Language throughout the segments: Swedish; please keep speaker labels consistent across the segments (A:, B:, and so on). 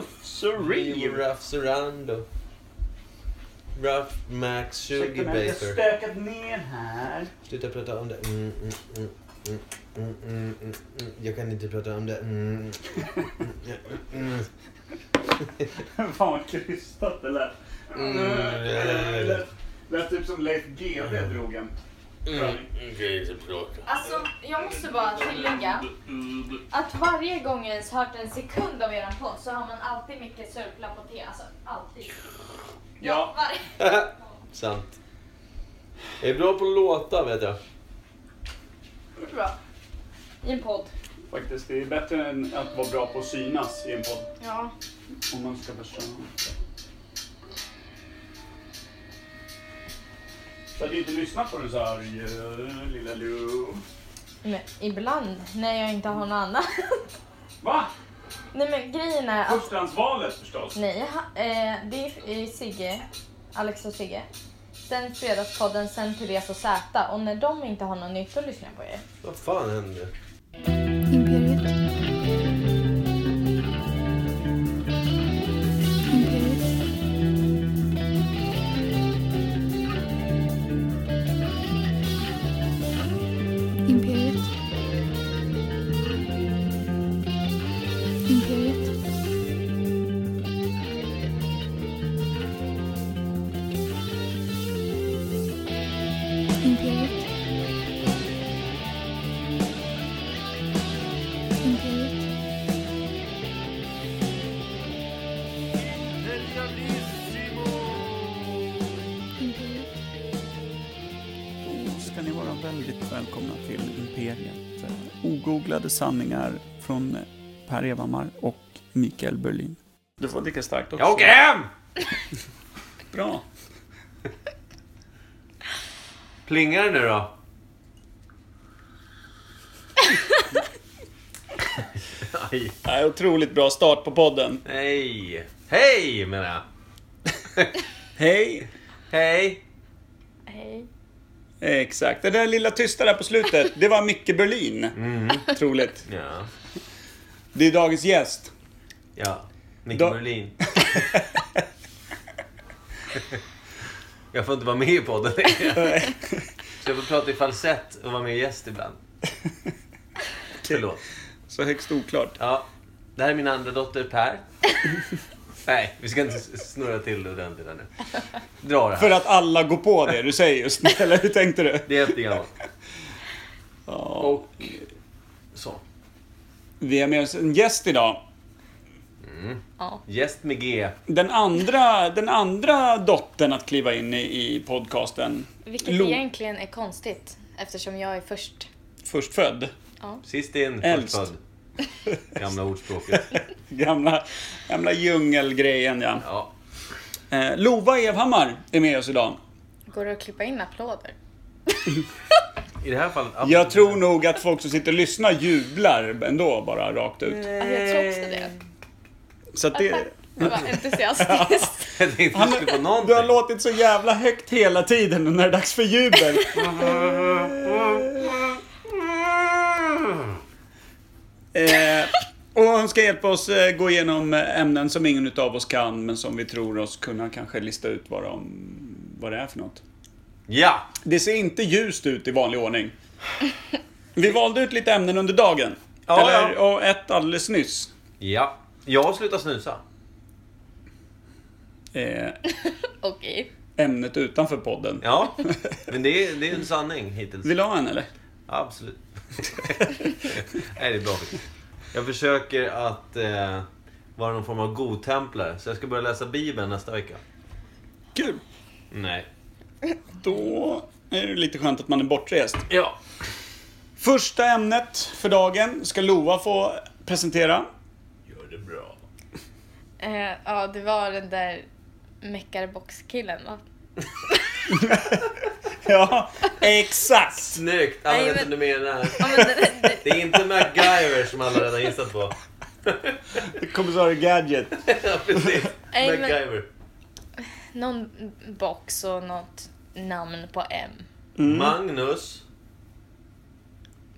A: Rufseri.
B: Rafsorando. Ruff Max 20
A: Ursäkta mig, jag har
B: Baser.
A: stökat ner här.
B: Sluta prata om det. Mm, mm, mm, mm, mm, mm, mm, mm. Jag kan inte prata om det. Mm, mm, mm,
A: Fan vad krystat det lät.
B: Mm, ja, ja, ja.
A: Lät- Lät typ som Leif GW drog en.
B: mm. Okej, så prata.
C: Alltså, jag måste bara tillägga att varje gång jag ens hört en sekund av eran podd så har man alltid mycket sörpla på te. Alltså, alltid.
A: Ja,
C: Varje...
B: Sant. Jag är bra på att låta, vet jag.
C: Det är Bra. I en podd.
A: faktiskt. Det är bättre än att vara bra på att synas i en podd.
C: Ja.
A: Om man ska försöka. Så att du inte lyssnar på den så här, eh, lilla Lou.
C: Men ibland när jag inte har något annat.
A: Va?
C: Nej men grejen är att...
A: Förstahandsvalet förstås.
C: Nej, ha- eh, det är eh, Sigge, Alex och Sigge. Sen Fredagspodden, sen Therese och Zäta. Och när de inte har något nytt att lyssna på er.
B: Vad fan händer?
D: Imperiet. Imperiet. Imperiet. Imperiet. Imperiet. Imperiet. Imperiet.
E: Då ska ni vara väldigt välkomna till Imperiet. Eh, Ogooglade sanningar från Per Evhammar och Mikael Berlin. Du får dricka starkt också.
B: Jag åker hem!
E: Bra.
B: Plingar det nu då? Aj.
E: Nej, otroligt bra start på podden.
B: Hej! Hej menar jag.
E: Hej!
B: Hej!
C: Hej.
E: Exakt. Det där lilla tysta där på slutet, det var Micke Berlin. Otroligt.
B: Ja.
E: Det är dagens gäst.
B: Ja. Micke
E: Då-
B: Berlin. jag får inte vara med i podden längre. Så jag får prata i falsett och vara med i gäst ibland. Förlåt.
E: Så högst oklart.
B: Ja. Det här är min andra dotter Per. Nej, vi ska inte s- snurra till det ordentligt här nu. Dra det
E: För
B: här.
E: att alla går på det du säger just nu, eller hur tänkte du?
B: Det är lite gammalt.
E: Ja.
B: Och så.
E: Vi har med oss en gäst idag.
B: Gäst med G.
E: Den andra, den andra dottern att kliva in i, i podcasten.
C: Vilket
E: Lo-
C: egentligen är konstigt eftersom jag är först.
E: Förstfödd.
B: Sist in,
E: Äldst.
B: först född. Gamla ordspråket.
E: Gamla, gamla djungelgrejen ja.
B: Ja.
E: Eh, Lova Evhammar är med oss idag.
C: Går det att klippa in applåder?
B: I det här fallet...
E: Jag tror nog att folk som sitter och lyssnar jublar ändå bara rakt ut.
C: Ja, Jag tror också det.
E: Så att det...
C: Det var entusiastiskt.
B: Jag tänkte
E: Han,
B: du skulle få
E: du har
B: någonting.
E: låtit så jävla högt hela tiden och när det är dags för jubel.
B: Mm.
E: Eh, och hon ska hjälpa oss eh, gå igenom eh, ämnen som ingen utav oss kan men som vi tror oss kunna kanske lista ut vad, de, vad det är för något.
B: Ja!
E: Det ser inte ljust ut i vanlig ordning. Vi valde ut lite ämnen under dagen.
B: Ja,
E: Eller,
B: ja.
E: Och ett alldeles nyss.
B: Ja. Jag har slutat snusa.
E: Eh,
C: Okej.
E: ämnet utanför podden.
B: Ja. Men det är, det är en sanning hittills.
E: Vill du ha en eller?
B: Absolut. Nej, det är bra faktiskt. Jag försöker att eh, vara någon form av godtemplare. Så jag ska börja läsa Bibeln nästa vecka.
E: Kul.
B: Nej.
E: Då är det lite skönt att man är bortrest.
B: Ja.
E: Första ämnet för dagen ska Lova få presentera.
B: Gör det bra.
C: Eh, ja, det var den där meckarboxkillen va?
E: Ja, exakt.
B: Snyggt! Alla
C: Nej,
B: vet vem
C: men-
B: du menar.
C: Ja, men det, det,
B: Det är inte MacGyver som alla redan gissat på.
E: Kommissarie Gadget.
B: Ja, precis.
C: Nej, men-
B: MacGyver.
C: någon box och något namn på M.
B: Mm. Magnus.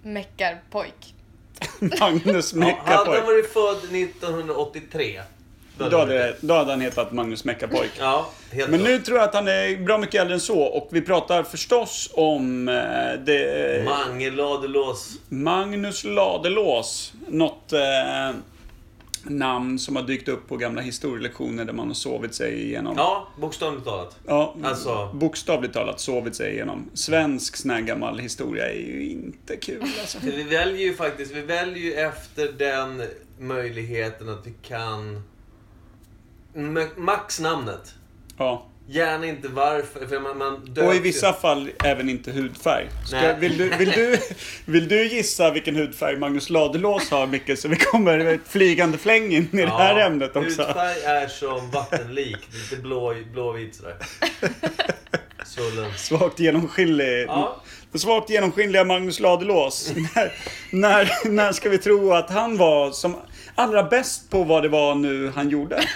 C: Meckarpojk.
E: Magnus
B: Ja, hade han
E: Meckapoy.
B: varit född 1983 hade
E: Då
B: varit
E: hade, då hade han hetat Magnus Meckapojk.
B: Ja, helt
E: Men
B: klart.
E: nu tror jag att han är bra mycket äldre än så och vi pratar förstås om eh, det, eh,
B: Mange Ladulås.
E: Magnus Ladulås. Något eh, namn som har dykt upp på gamla historielektioner där man har sovit sig igenom.
B: Ja, bokstavligt talat.
E: Ja,
B: Alltså-
E: bokstavligt talat sovit sig igenom. Svensk sån här gammal historia är ju inte kul alltså.
B: För vi väljer ju faktiskt, vi väljer ju efter den möjligheten att vi kan... Ma- Max namnet.
E: Ja.
B: Gärna inte varför, för man, man döps
E: Och i
B: ju.
E: vissa fall även inte hudfärg. Ska,
B: Nej.
E: vill, du, vill, du, vill du gissa vilken hudfärg Magnus Ladulås har Micke? Så vi kommer ett flygande fläng in i det här ämnet också.
B: Hudfärg är som vattenlik, lite blå, blåvit sådär. Svullen.
E: Svagt genomskinlig.
B: Ja.
E: Svagt genomskinliga Magnus Ladulås. när, när, när ska vi tro att han var som allra bäst på vad det var nu han gjorde?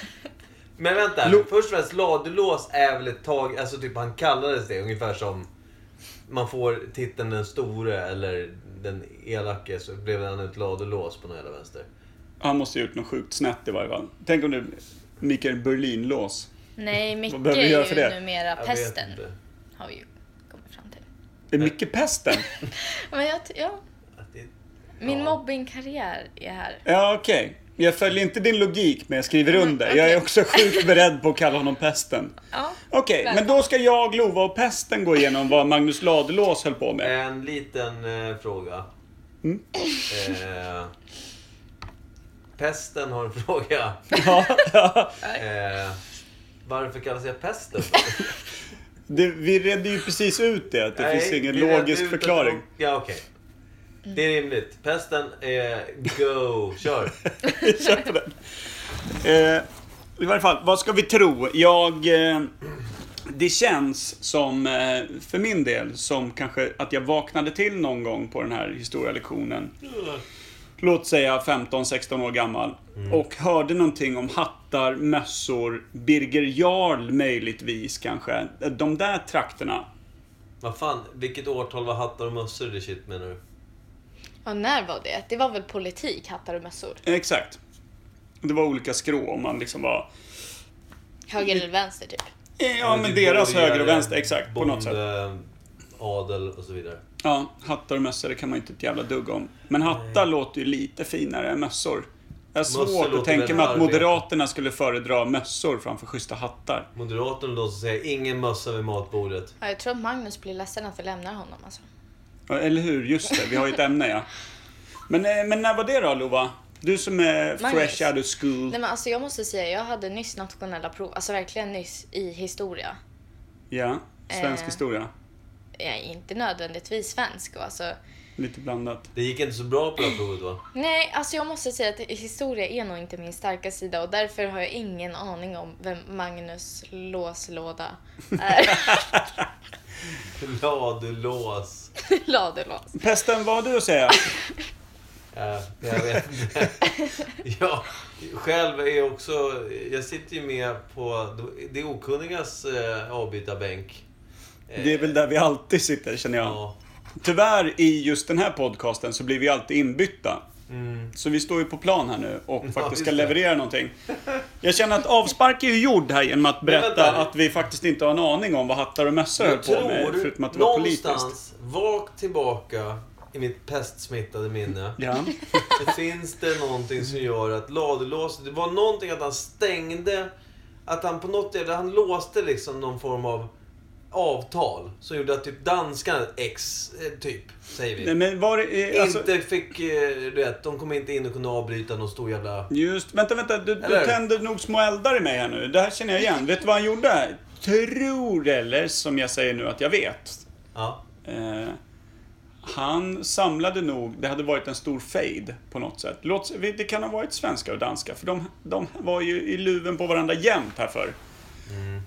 B: Men vänta,
E: Lo-
B: först och främst ladulås är väl ett tag, alltså typ han kallades det ungefär som man får titeln den store eller den elake så blev han ett ladulås på någon jävla vänster.
E: Han måste ha gjort något sjukt snett i varje fall. Tänk om du Mikael Berlin-lås.
C: Nej, Micke
E: behöver vi göra
C: är
E: för
C: ju
E: det?
C: numera
B: Jag
C: pesten.
B: vet inte.
C: Har vi ju kommit fram till.
E: Är Micke pesten?
C: Men jag, ty- ja,
B: Att det-
C: min
B: Ja.
C: mobbingkarriär är här.
E: Ja, okej. Jag följer inte din logik, men jag skriver under. Jag är också sjukt beredd på att kalla honom pesten.
C: Ja.
E: Okej, men då ska jag, Lova och pesten gå igenom vad Magnus Ladulås höll på med.
B: En liten eh, fråga.
E: Mm.
B: Eh, pesten har en fråga.
E: Ja, ja.
B: Eh, varför kallas jag pesten?
E: Det, vi redde ju precis ut det, att det
B: Nej,
E: finns ingen
B: vi redde
E: logisk
B: ut att-
E: förklaring.
B: Ja, okej. Det är rimligt. Pesten är go, kör.
E: Vi kör på den. Eh, I varje fall, vad ska vi tro? Jag... Eh, det känns som, eh, för min del, som kanske att jag vaknade till någon gång på den här historielektionen. Låt säga 15-16 år gammal. Och hörde någonting om hattar, mössor, Birger Jarl möjligtvis kanske. Eh, De där trakterna.
B: Vad fan, vilket årtal var hattar och mössor det shit menar du?
C: Och när var det? Det var väl politik, hattar och mössor?
E: Eh, Exakt. Det var olika skrå om man liksom var...
C: Höger eller vänster typ.
E: eh, Ja, men deras höger och vänster, exakt. På något sätt.
B: Bonde, adel och så vidare.
E: Ja, hattar och mössor det kan man ju inte ett jävla dugg om. Men hattar låter ju lite finare än mössor. Jag har
B: Mössor
E: svårt att
B: låter
E: tänka
B: väl
E: mig att
B: arbete.
E: Moderaterna skulle föredra mössor framför schyssta hattar.
B: Moderaterna då som säger ingen mössa vid matbordet.
C: Ja, jag tror att Magnus blir ledsen att vi lämnar honom alltså.
E: Ja, Eller hur? Just det, vi har ju ett ämne ja. Men, eh, men när var det då Lova? Du som är
C: Magnus.
E: fresh out of school.
C: Nej men alltså jag måste säga, jag hade nyss nationella prov, alltså verkligen nyss i historia.
E: Ja, svensk
C: Eh.
E: historia.
C: Jag är inte nödvändigtvis svensk och alltså
E: Lite blandat.
B: Det gick inte så bra på det här provet va?
C: Nej, alltså jag måste säga att historia är nog inte min starka sida och därför har jag ingen aning om vem Magnus låslåda är.
B: Ladulås.
C: Ladulås.
E: Pesten, vad har du att säga?
B: Ja, jag vet inte. Jag själv är jag också... Jag sitter ju med på det okunnigas eh, avbytarbänk. Eh,
E: Det är väl där vi alltid sitter känner jag.
B: Ja.
E: Tyvärr i just den här podcasten så blir vi alltid inbytta.
B: Mm.
E: Så vi står ju på plan här nu och faktiskt ska
B: just det.
E: leverera någonting. Jag känner att avspark är ju gjord här genom att berätta
B: vänta.
E: att vi faktiskt inte har en aning om vad hattar och mössor höll
B: Jag
E: på med. Förutom
B: tror
E: att det var politiskt.
B: någonstans, vagt tillbaka i mitt pestsmittade minne,
E: Ja.
B: så finns det någonting som gör att ladulåset... Det var någonting att han stängde... Att han på något jävla... Han låste liksom någon form av avtal som gjorde att typ danskarna, ex, eh, typ, säger vi.
E: Nej, men var det, eh, alltså,
B: inte fick eh, rätt. De kom inte in och kunde avbryta någon stor jävla...
E: Just, vänta, vänta. Du, du
B: Eller?
E: tänder nog små eldar i mig här nu. Det här känner jag igen. Vet du vad han gjorde? Tror eller som jag säger nu att jag vet.
B: Ja.
E: Eh, han samlade nog, det hade varit en stor fejd på något sätt. Låt, det kan ha varit svenska och danska, för de, de var ju i luven på varandra jämt här förr.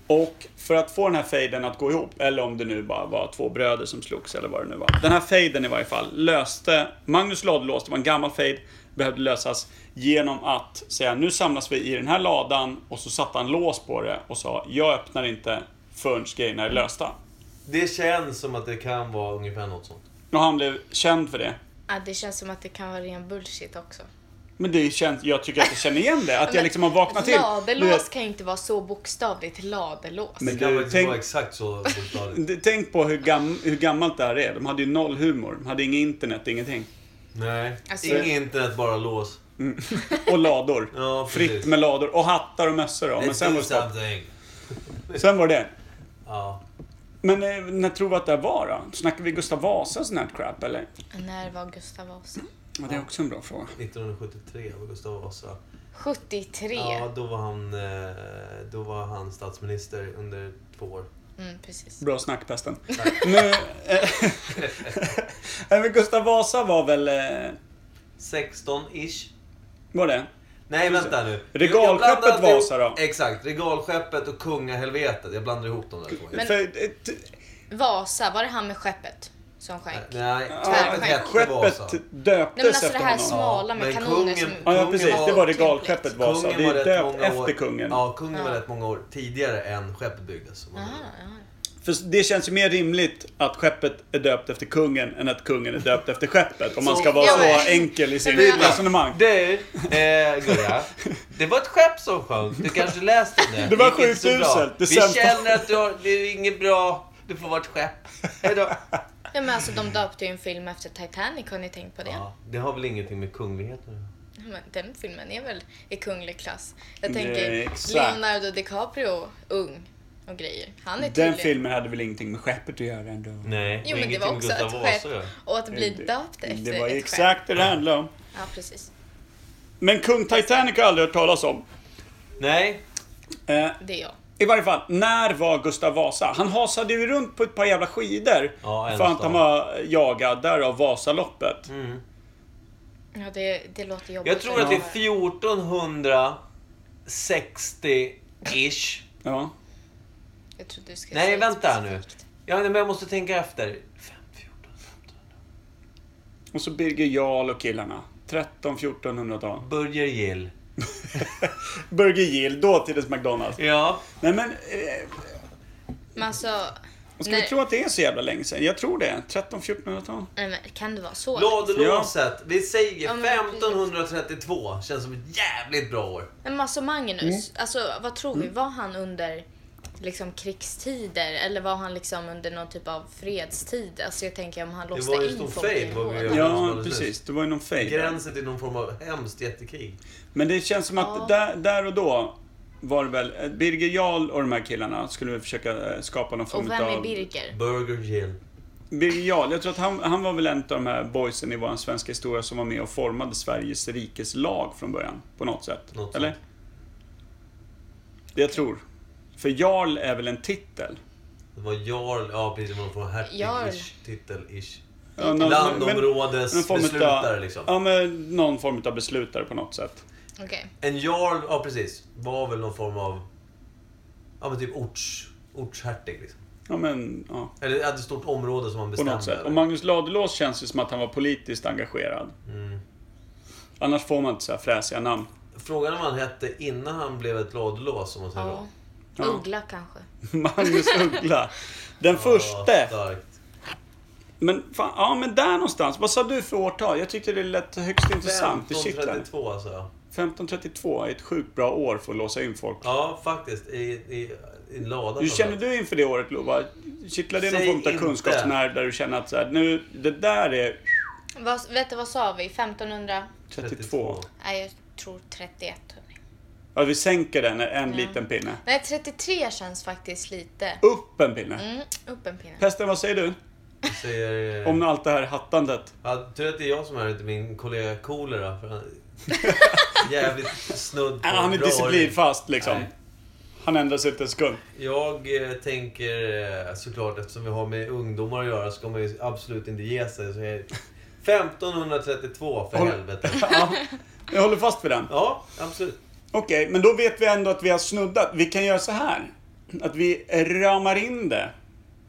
E: Och för att få den här fejden att gå ihop, eller om det nu bara var två bröder som slogs eller vad det nu var. Den här fejden i varje fall löste Magnus ladulås, det var en gammal fejd, behövde lösas genom att säga nu samlas vi i den här ladan och så satte han lås på det och sa jag öppnar inte förrän grejerna är lösta.
B: Det känns som att det kan vara ungefär något sånt.
E: Och han blev känd för det.
C: Ja, det känns som att det kan vara ren bullshit också.
E: Men det känns, jag tycker att jag känner igen det. Att jag
C: Men
E: liksom har vaknat till. Du
C: Ladelås
E: vet,
C: kan ju inte vara så bokstavligt ladelås.
E: Men
B: Det kan
E: du,
B: faktiskt
E: tänk-
B: vara exakt så bokstavligt.
E: d- Tänk på hur, gam, hur gammalt det här är. De hade ju noll humor. De hade inget internet, ingenting.
B: Nej.
C: Alltså-
B: Inget internet, bara lås.
E: Och lador.
B: Ja, precis.
E: Fritt med lador. Och hattar och mössor. Då. Men
B: Let's
E: sen var,
B: do
E: det stopp.
B: something.
E: sen var det
B: Ja.
E: Men eh, när tror vi att det här var då? Snackar vi Gustav Vasa och sån här crap eller?
C: När var Gustav Vasa?
E: Ja, det är också en bra fråga.
B: 1973 var Gustav Vasa.
C: 73.
B: Ja, då var han, eh, då var han statsminister under två år.
C: Mm, precis.
E: Bra snackpesten. nu... eh, Nej, men Gustav Vasa var väl... eh,
B: 16-ish.
E: Var det?
B: Nej, vänta nu.
E: Regalskeppet
B: Jag blandade ihop-
E: Vasa då?
B: Exakt, regalskeppet och kungahelvetet. Jag blandar ihop dem där två.
C: Men-
E: För, eh, t-
C: Vasa, var det han med skeppet som sjönk?
B: Eh, Nej,
E: ja,
B: skeppet hette
E: skeppet
B: Vasa.
E: döptes
C: Nej men alltså
E: efter
C: det här
E: honom.
C: smala med
B: Men
C: kanoner
B: kungen-
C: som...
E: Ja, ja
B: Kungen
E: precis.
B: var- typ
E: Det var regalskeppet Vasa.
B: Kungen
E: Det
B: var
E: är
B: rätt
E: döpt
B: många år-
E: efter kungen.
B: Ja, kungen var
C: Ja.
B: rätt många år tidigare än skeppet byggdes. om man
C: Aha,
B: vill.
C: Ah, ja.
E: För det känns ju mer rimligt att skeppet är döpt efter kungen än att kungen är döpt efter skeppet. Om man ska vara
C: Ja, men-
E: så enkel i sin
C: Men jag-
E: resonemang.
B: Du, eh, Gurra. Det var ett skepp som sjönk. Du kanske läste om det.
E: Det var
B: gick inte
E: sjukt
B: så bra.
E: uselt. Det
B: Vi
E: sämsta.
B: känner att du har, det är inget bra. Du får vara ett skepp. Hejdå.
C: ja men alltså de döpte ju en film efter Titanic, har ni tänkt på det?
B: Ja, det har väl ingenting med kunglighet nu.
C: Men den filmen är väl i kunglig klass? Jag
E: Det är
C: tänker
E: exakt.
C: Leonardo DiCaprio, ung och grejer. Han är
E: Den
C: tydligen...
E: filmen hade väl ingenting med skeppet att göra ändå.
B: Nej,
C: Jo men det var också ett skepp. Och att bli döpt efter
E: Det var
C: ett skepp.
E: exakt det det handlade om.
C: Ja precis.
E: Men kung Titanic har jag aldrig hört talas om.
B: Nej,
E: Eh,
C: Det är jag.
E: I varje fall, när var Gustav Vasa? Han hasade ju runt på ett par jävla skidor.
B: Ja, en Mm.
E: för att
B: stad.
E: han var jagad, därav Vasaloppet.
C: Ja det, det låter jobbigt.
B: jag tror
C: för
B: att det
C: mig.
B: är 1460-ish.
E: Ja.
C: Jag trodde du skulle
B: Nej,
C: säga
B: vänta här nu.
C: specifikt.
B: Ja, men jag måste tänka efter. Fem, 14, 15.
E: Och så Birger Jarl och killarna. 13-1400-tal.
B: Burger Gill.
E: Burger Gill, dåtidens McDonalds.
B: Ja.
E: Nej men, eh,
C: Men alltså...
E: ska
C: Nej.
E: vi tro att det är så jävla länge sedan? Jag tror det. 13-1400-tal.
C: Nej, men kan det vara så?
B: Ladulåset. Vi säger
C: Ja, men precis.
B: 1532. Känns som ett jävligt bra år.
C: Nej, Men alltså Magnus, alltså, vad tror vi? Var han under liksom, krigstider eller var han liksom under någon typ av fredstid? Alltså jag tänker om han låste
B: var ju
C: in
B: stor
C: folk i
B: fejd,
C: en
B: vad vi gör.
C: gård.
E: Ja, precis. Det var ju någon fejd.
B: Gränsen till någon form av hemskt jättekrig.
E: Men det känns som att där, där och då var det väl eh, Birger Jarl och de här killarna skulle väl försöka eh, skapa någon form
C: Och vem är
E: av...
C: Birger?
B: Burger Gill.
E: Birger Jarl, jag tror att han, han var väl en av de här boysen i vår svenska historia som var med och formade Sveriges rikes lag från början. På något sätt.
B: Något
E: Eller?
B: sånt.
E: Det jag tror. För Jarl är väl en titel?
B: Det var Jarl. Ja, precis. Någon form av
C: Jarl.
B: hertig-ish. Titel-ish.
E: Ja, någon- men- någon form utav-
B: Landområdesbeslutare liksom.
E: Ja, men någon form av beslutare på något sätt.
C: Okej.
B: En jarl, ja precis, var väl någon form av... Ja men typ orts, ortshertig liksom.
E: Ja, men ja,
B: Eller hade ett stort område som man
E: på
B: bestämde
E: något sätt.
B: över.
E: Och Magnus Ladulås känns ju som att han var politiskt engagerad.
B: Mm.
E: Annars får man inte så här fräsiga namn.
B: Frågan är vad han hette innan han blev ett ladulås om man säger
C: Ja.
E: Ja.
C: Uggla kanske.
E: Magnus Uggla. Den
B: så. Ja,
E: första.
B: starkt.
E: Men fan, ja men där någonstans. Vad sa du för årtal? Jag tyckte det lät högst intressant. Det kittlade.
B: 1532 alltså.
E: 1532 är ett sjukt bra år för att låsa in folk.
B: Ja, faktiskt. I, i, i en lada.
E: Hur känner du inför det året Lova? Kittlar det
B: Säg
E: någon form av
B: inte.
E: kunskapsnerv där du känner att så här, nu, det där är
C: Vad, vet du vad sa vi? 1500?
E: 32?
C: Nej, jag tror 31. hörni.
E: Ja, vi sänker den en liten pinne.
C: Nej, 33 känns faktiskt lite.
E: Upp en pinne.
C: Mm, upp en pinne.
E: Pesten, vad säger du?
B: Jag Säger, eh,
E: Om allt det här hattandet.
B: ja, tur att det är jag som är inte min kollega Kolera. för han- Jävligt snudd på
E: Äh, han är
B: bra.
E: disciplinfast liksom.
B: Nej.
E: Han ändrar sig inte en sekund.
B: Jag eh, tänker eh, såklart, eftersom vi har med ungdomar att göra, så ska man ju absolut inte ge sig. Så jag... 1532 för
E: Håll-
B: helvete.
E: Ja, jag håller fast vid den.
B: Ja, absolut.
E: Okej, men då vet vi ändå att vi har snuddat. Vi kan göra så här. Att vi ramar in det.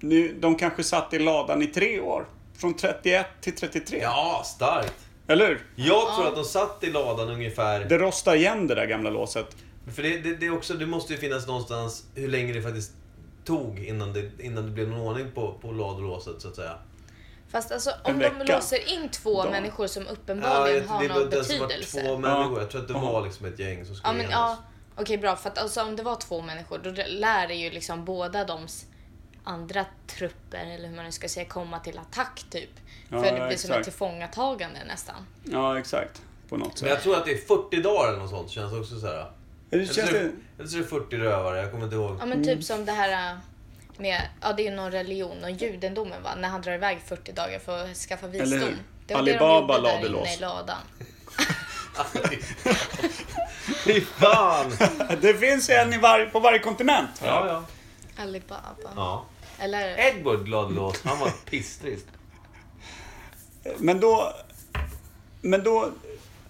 E: Nu, de kanske satt i ladan i tre år. Från 31 till 33.
B: Ja, starkt.
E: Eller hur?
B: Jag tror att de satt i ladan ungefär.
E: Det rostar igen det där gamla låset.
B: För det, det, det, är också, det måste ju finnas någonstans hur länge det faktiskt tog innan det, innan det blev någon ordning på, på ladulåset så att säga.
C: Fast alltså
E: En
C: om de
E: vecka.
C: låser in två
E: Dag.
C: människor som
B: Ja,
C: uppenbarligen
B: jag,
C: har
B: det var
C: någon
B: den som var
C: betydelse.
B: två människor. Jag tror att det
E: Aha.
B: var liksom ett gäng som skulle
C: Ja men ja,
E: Alltså.
B: enas.
C: okej bra. För att alltså, om det var två människor då lär det ju liksom båda doms andra trupper, eller hur man nu ska säga, komma till attack typ.
E: Ja,
C: för det blir
E: ja,
C: som ett
E: exakt.
C: tillfångatagande nästan.
E: Ja, exakt. På något
B: Men
E: sätt.
B: jag tror att det är 40 dagar eller något sånt. Känns också så här.
E: Det
B: Eller
E: känns
B: så är
E: det...
B: det- eller så är det 40 rövare. Jag kommer inte ihåg.
C: Ja
E: Mm.
C: men typ som det här äh, med, ja det är ju någon religion och judendomen va, när han drar iväg 40 dagar för att skaffa visdom.
E: hur?
C: Det var
E: Alibaba
C: det de
E: lade
C: gjorde där inne
E: lås.
C: i ladan.
B: Alltså, Fy fan!
E: det finns en i varje- på varje kontinent.
B: Ja, ja.
C: Alibaba.
B: ja.
C: Eller?
B: Edward Gladlås, han var pisstrist.
E: Men då... Men då...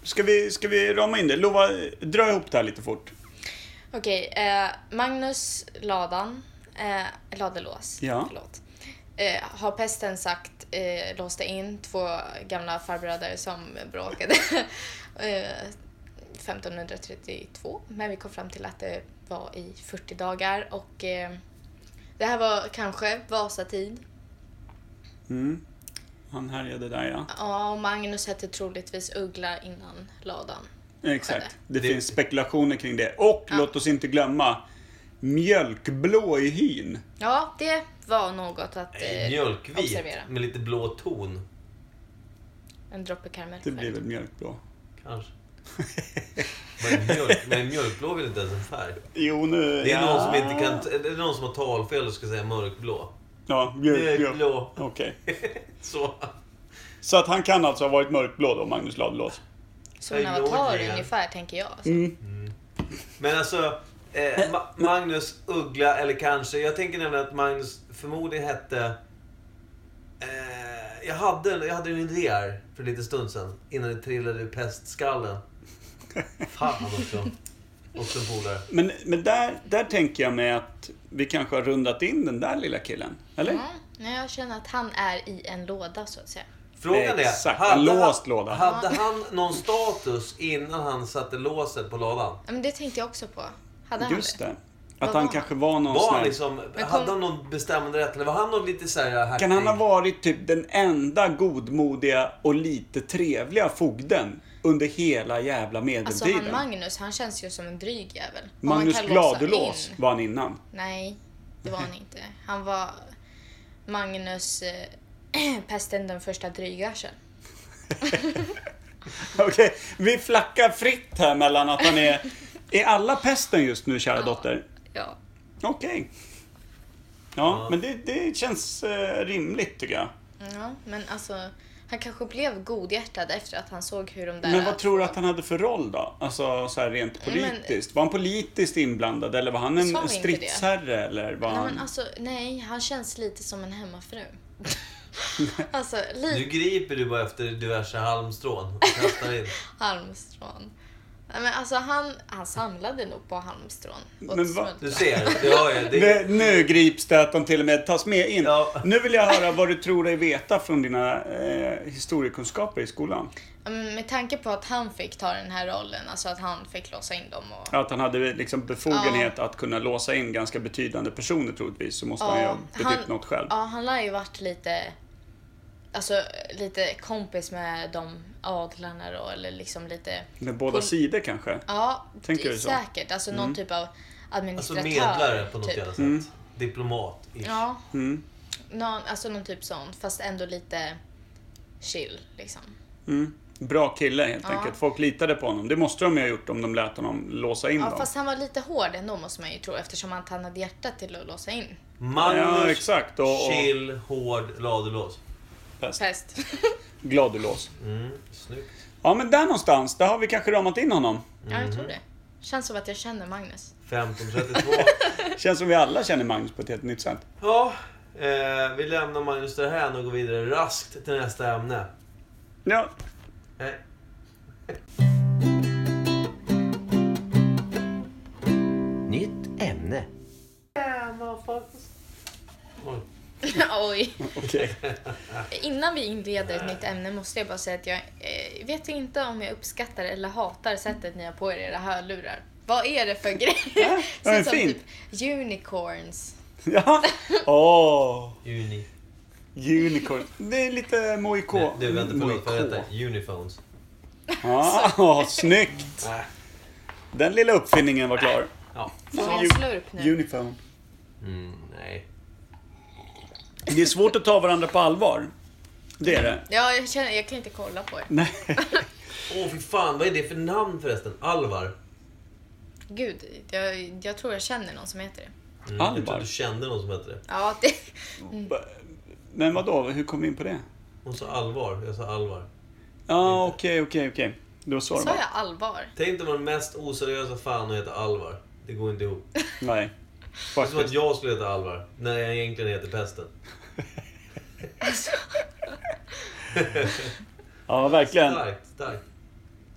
E: Ska vi, ska vi rama in det? Lova, dra ihop det här lite fort.
C: Okej, eh, Magnus Ladan, eh, Ladelås,
E: Ja.
C: förlåt, eh, har pesten sagt eh, låste in två gamla farbröder som bråkade eh, 1532. Men vi kom fram till att det var i 40 dagar och eh, det här var kanske Vasatid.
E: Mm. Han härjade där ja.
C: Ja, och Magnus hette troligtvis Uggla innan Ladan.
E: Exakt. Det,
B: Det-
E: finns spekulationer kring det. Och
C: Ja.
E: låt oss inte glömma mjölkblå i hyn.
C: Ja, det var något att eh,
B: Mjölkvit
C: observera.
B: med lite blå ton.
C: eh, En droppe karamell
E: Det blir
C: själv.
E: väl mjölkblå.
B: Kanske. Men, mjölk, men mjölkblå är väl inte ens en färg?
E: Jo, nu...
B: Det är
E: ja.
B: någon som inte kan... Det är någon som har talfel och ska säga mörkblå.
E: Ja, mjölkblå.
B: Mjölkblå.
E: Okej.
B: Så.
E: Så att han kan alltså ha varit mörkblå då, Magnus Ladulås.
C: Som en
B: Jag
C: avatar
B: gjorde det.
C: ungefär, tänker jag.
B: Men alltså, eh, Ma- Magnus Uggla eller kanske... Jag tänker nämligen att Magnus förmodligen hette... Eh, jag, hade, en- jag hade en idé här för lite stund sedan. Innan det trillade ur pestskallen. Fan också. Också en polare.
E: Men, men där, där tänker jag mig att vi kanske har rundat in den där lilla killen. Eller?
C: Mm. Nej, jag känner att han är i en låda så att säga.
B: Frågan är,
E: Exakt, en
B: hade,
E: låst låda.
B: hade han någon status innan han satte låset på lådan?
C: Ja, Men det tänkte jag också på. Hade han
E: Just det.
C: Vad
E: Att
C: var han?
E: han kanske var någon
B: Var
E: sån
B: han
E: här...
B: liksom,
C: kom-
B: hade han någon bestämmande rätt? Eller var han någon lite så här "Äh, hertig?
E: Kan han ha varit typ den enda godmodiga och lite trevliga fogden under hela jävla
C: Alltså
E: medeltiden?
C: han Magnus, han känns ju som en dryg jävel. Och han
E: Magnus
C: kan låsa
E: Gladelås
C: in.
E: var han innan.
C: Nej, det var han inte. Han var Magnus eh, pesten den första drygörseln.
E: Okej, vi flackar fritt här mellan att han är... Är alla pesten just nu, kära dotter?
C: Ja.
E: Okej. Ja, men det, det känns eh, rimligt tycker jag.
C: ja. Men alltså, han kanske blev godhjärtad efter att han såg hur de där...
E: Men vad tror du att han hade för roll då? Alltså så här rent
C: Nej, men-
E: politiskt. Var han politiskt inblandad eller var han
C: Sa vi
E: en
C: inte
E: stridsherre? Eller var
C: Nej,
E: han...
C: men alltså, nej, han känns lite som en hemmafru. alltså, lite
B: Nu griper du bara efter diverse halmstrån och kastar in.
C: halmstrån. Nej, men alltså, han, han samlade nog på halmstrån. åt
E: Men va?
C: smultron.
B: Du ser, det har jag. Det,
E: Nu- Nu grips det att de till och med tas med in.
B: Ja.
E: Nu vill jag höra vad du tror dig veta från dina eh, historiekunskaper i skolan.
C: Ja, men Med tanke på att han fick ta den här rollen, alltså att han fick låsa in dem och...
E: Att han hade liksom befogenhet att kunna låsa in ganska betydande personer troligtvis. Så måste han ju ha betytt något själv.
C: Ja, han lär ju varit lite... Alltså lite kompis med de adlarna då, eller liksom lite...
E: Med båda
C: Pol-
E: sidor kanske.
C: Ja,
E: Tänker
C: det-
E: du så? Mm.
C: säkert. Alltså någon typ av
B: alltså
C: administratör.
B: medlare på något
C: typ.
B: jävla sätt. Diplomat.
C: Ja.
E: Mm.
C: Någon, alltså någon typ sån, fast ändå lite chill liksom.
E: Mm. Bra kille helt
C: Ja.
E: enkelt. Folk litade på honom. Det måste de ju ha gjort om de lät honom låsa in
C: Ja,
E: dem.
C: fast han var lite hård ändå måste man ju tro eftersom att han hade hjärtat till att låsa in
E: Ja,
B: Magnus,
E: exakt. Och, och
B: chill, hård, ladulås.
E: pest.
C: pest.
E: Mm. Gladulås.
B: Mm, snyggt.
E: Ja, men där någonstans. Där har vi kanske ramat in honom.
C: Ja, jag tror det. Känns som att jag känner Magnus.
B: 1532.
E: Känns som vi alla känner Magnus på ett helt nytt sätt.
B: ja, eh, vi lämnar Magnus därhän och går vidare raskt till nästa ämne. Eh,
E: Ja,
B: Nej.
F: Nytt ämne.
B: Oj.
C: Oj.
E: okej.
C: Innan vi inleder ett nytt ämne måste jag bara säga att jag eh, vet inte om jag uppskattar eller hatar sättet ni har på er era hörlurar. Vad är det för grej? Det
E: Ja,
C: ser typ
E: men
C: ut som
E: fint.
C: typ unicorns.
E: Ja. Åh.
B: Juni.
E: Unicorn. Det är lite mojk.
B: Du, du vänta, förlåt. Vad
E: mojk.
B: heter det? Uniphones.
E: Ja, Ah, snyggt!
B: Äh.
E: Den lilla uppfinningen var klar.
B: Ja.
C: Får jag en
E: Ju-
C: slurp nu?
E: Uniform.
B: Mm, nej.
E: Det är svårt att ta varandra på allvar. Det är det.
C: Ja, jag, känner, jag kan inte kolla på er.
E: Nej.
B: Åh, fy fan. Vad är det för namn förresten? Alvar? Mm,
C: Gud, jag, jag tror jag känner någon som heter det.
B: Mm,
E: Alvar?
B: Jag trodde du kände någon som hette det.
C: Ja, det...
E: Men vadå, hur kom vi in på det?
B: Hon sa Alvar. Jag sa Alvar.
E: Ja, okej, okej, okej. Det var så det
C: Sa
E: var.
C: jag allvar?
B: Tänk dig vara den mest oseriösa fan och heta Alvar. Det går inte ihop. Det
E: Nej.
B: är som att
E: Faktiskt.
B: jag skulle heta Alvar, när jag egentligen heter Pesten.
E: Ja, verkligen.
B: Starkt, starkt.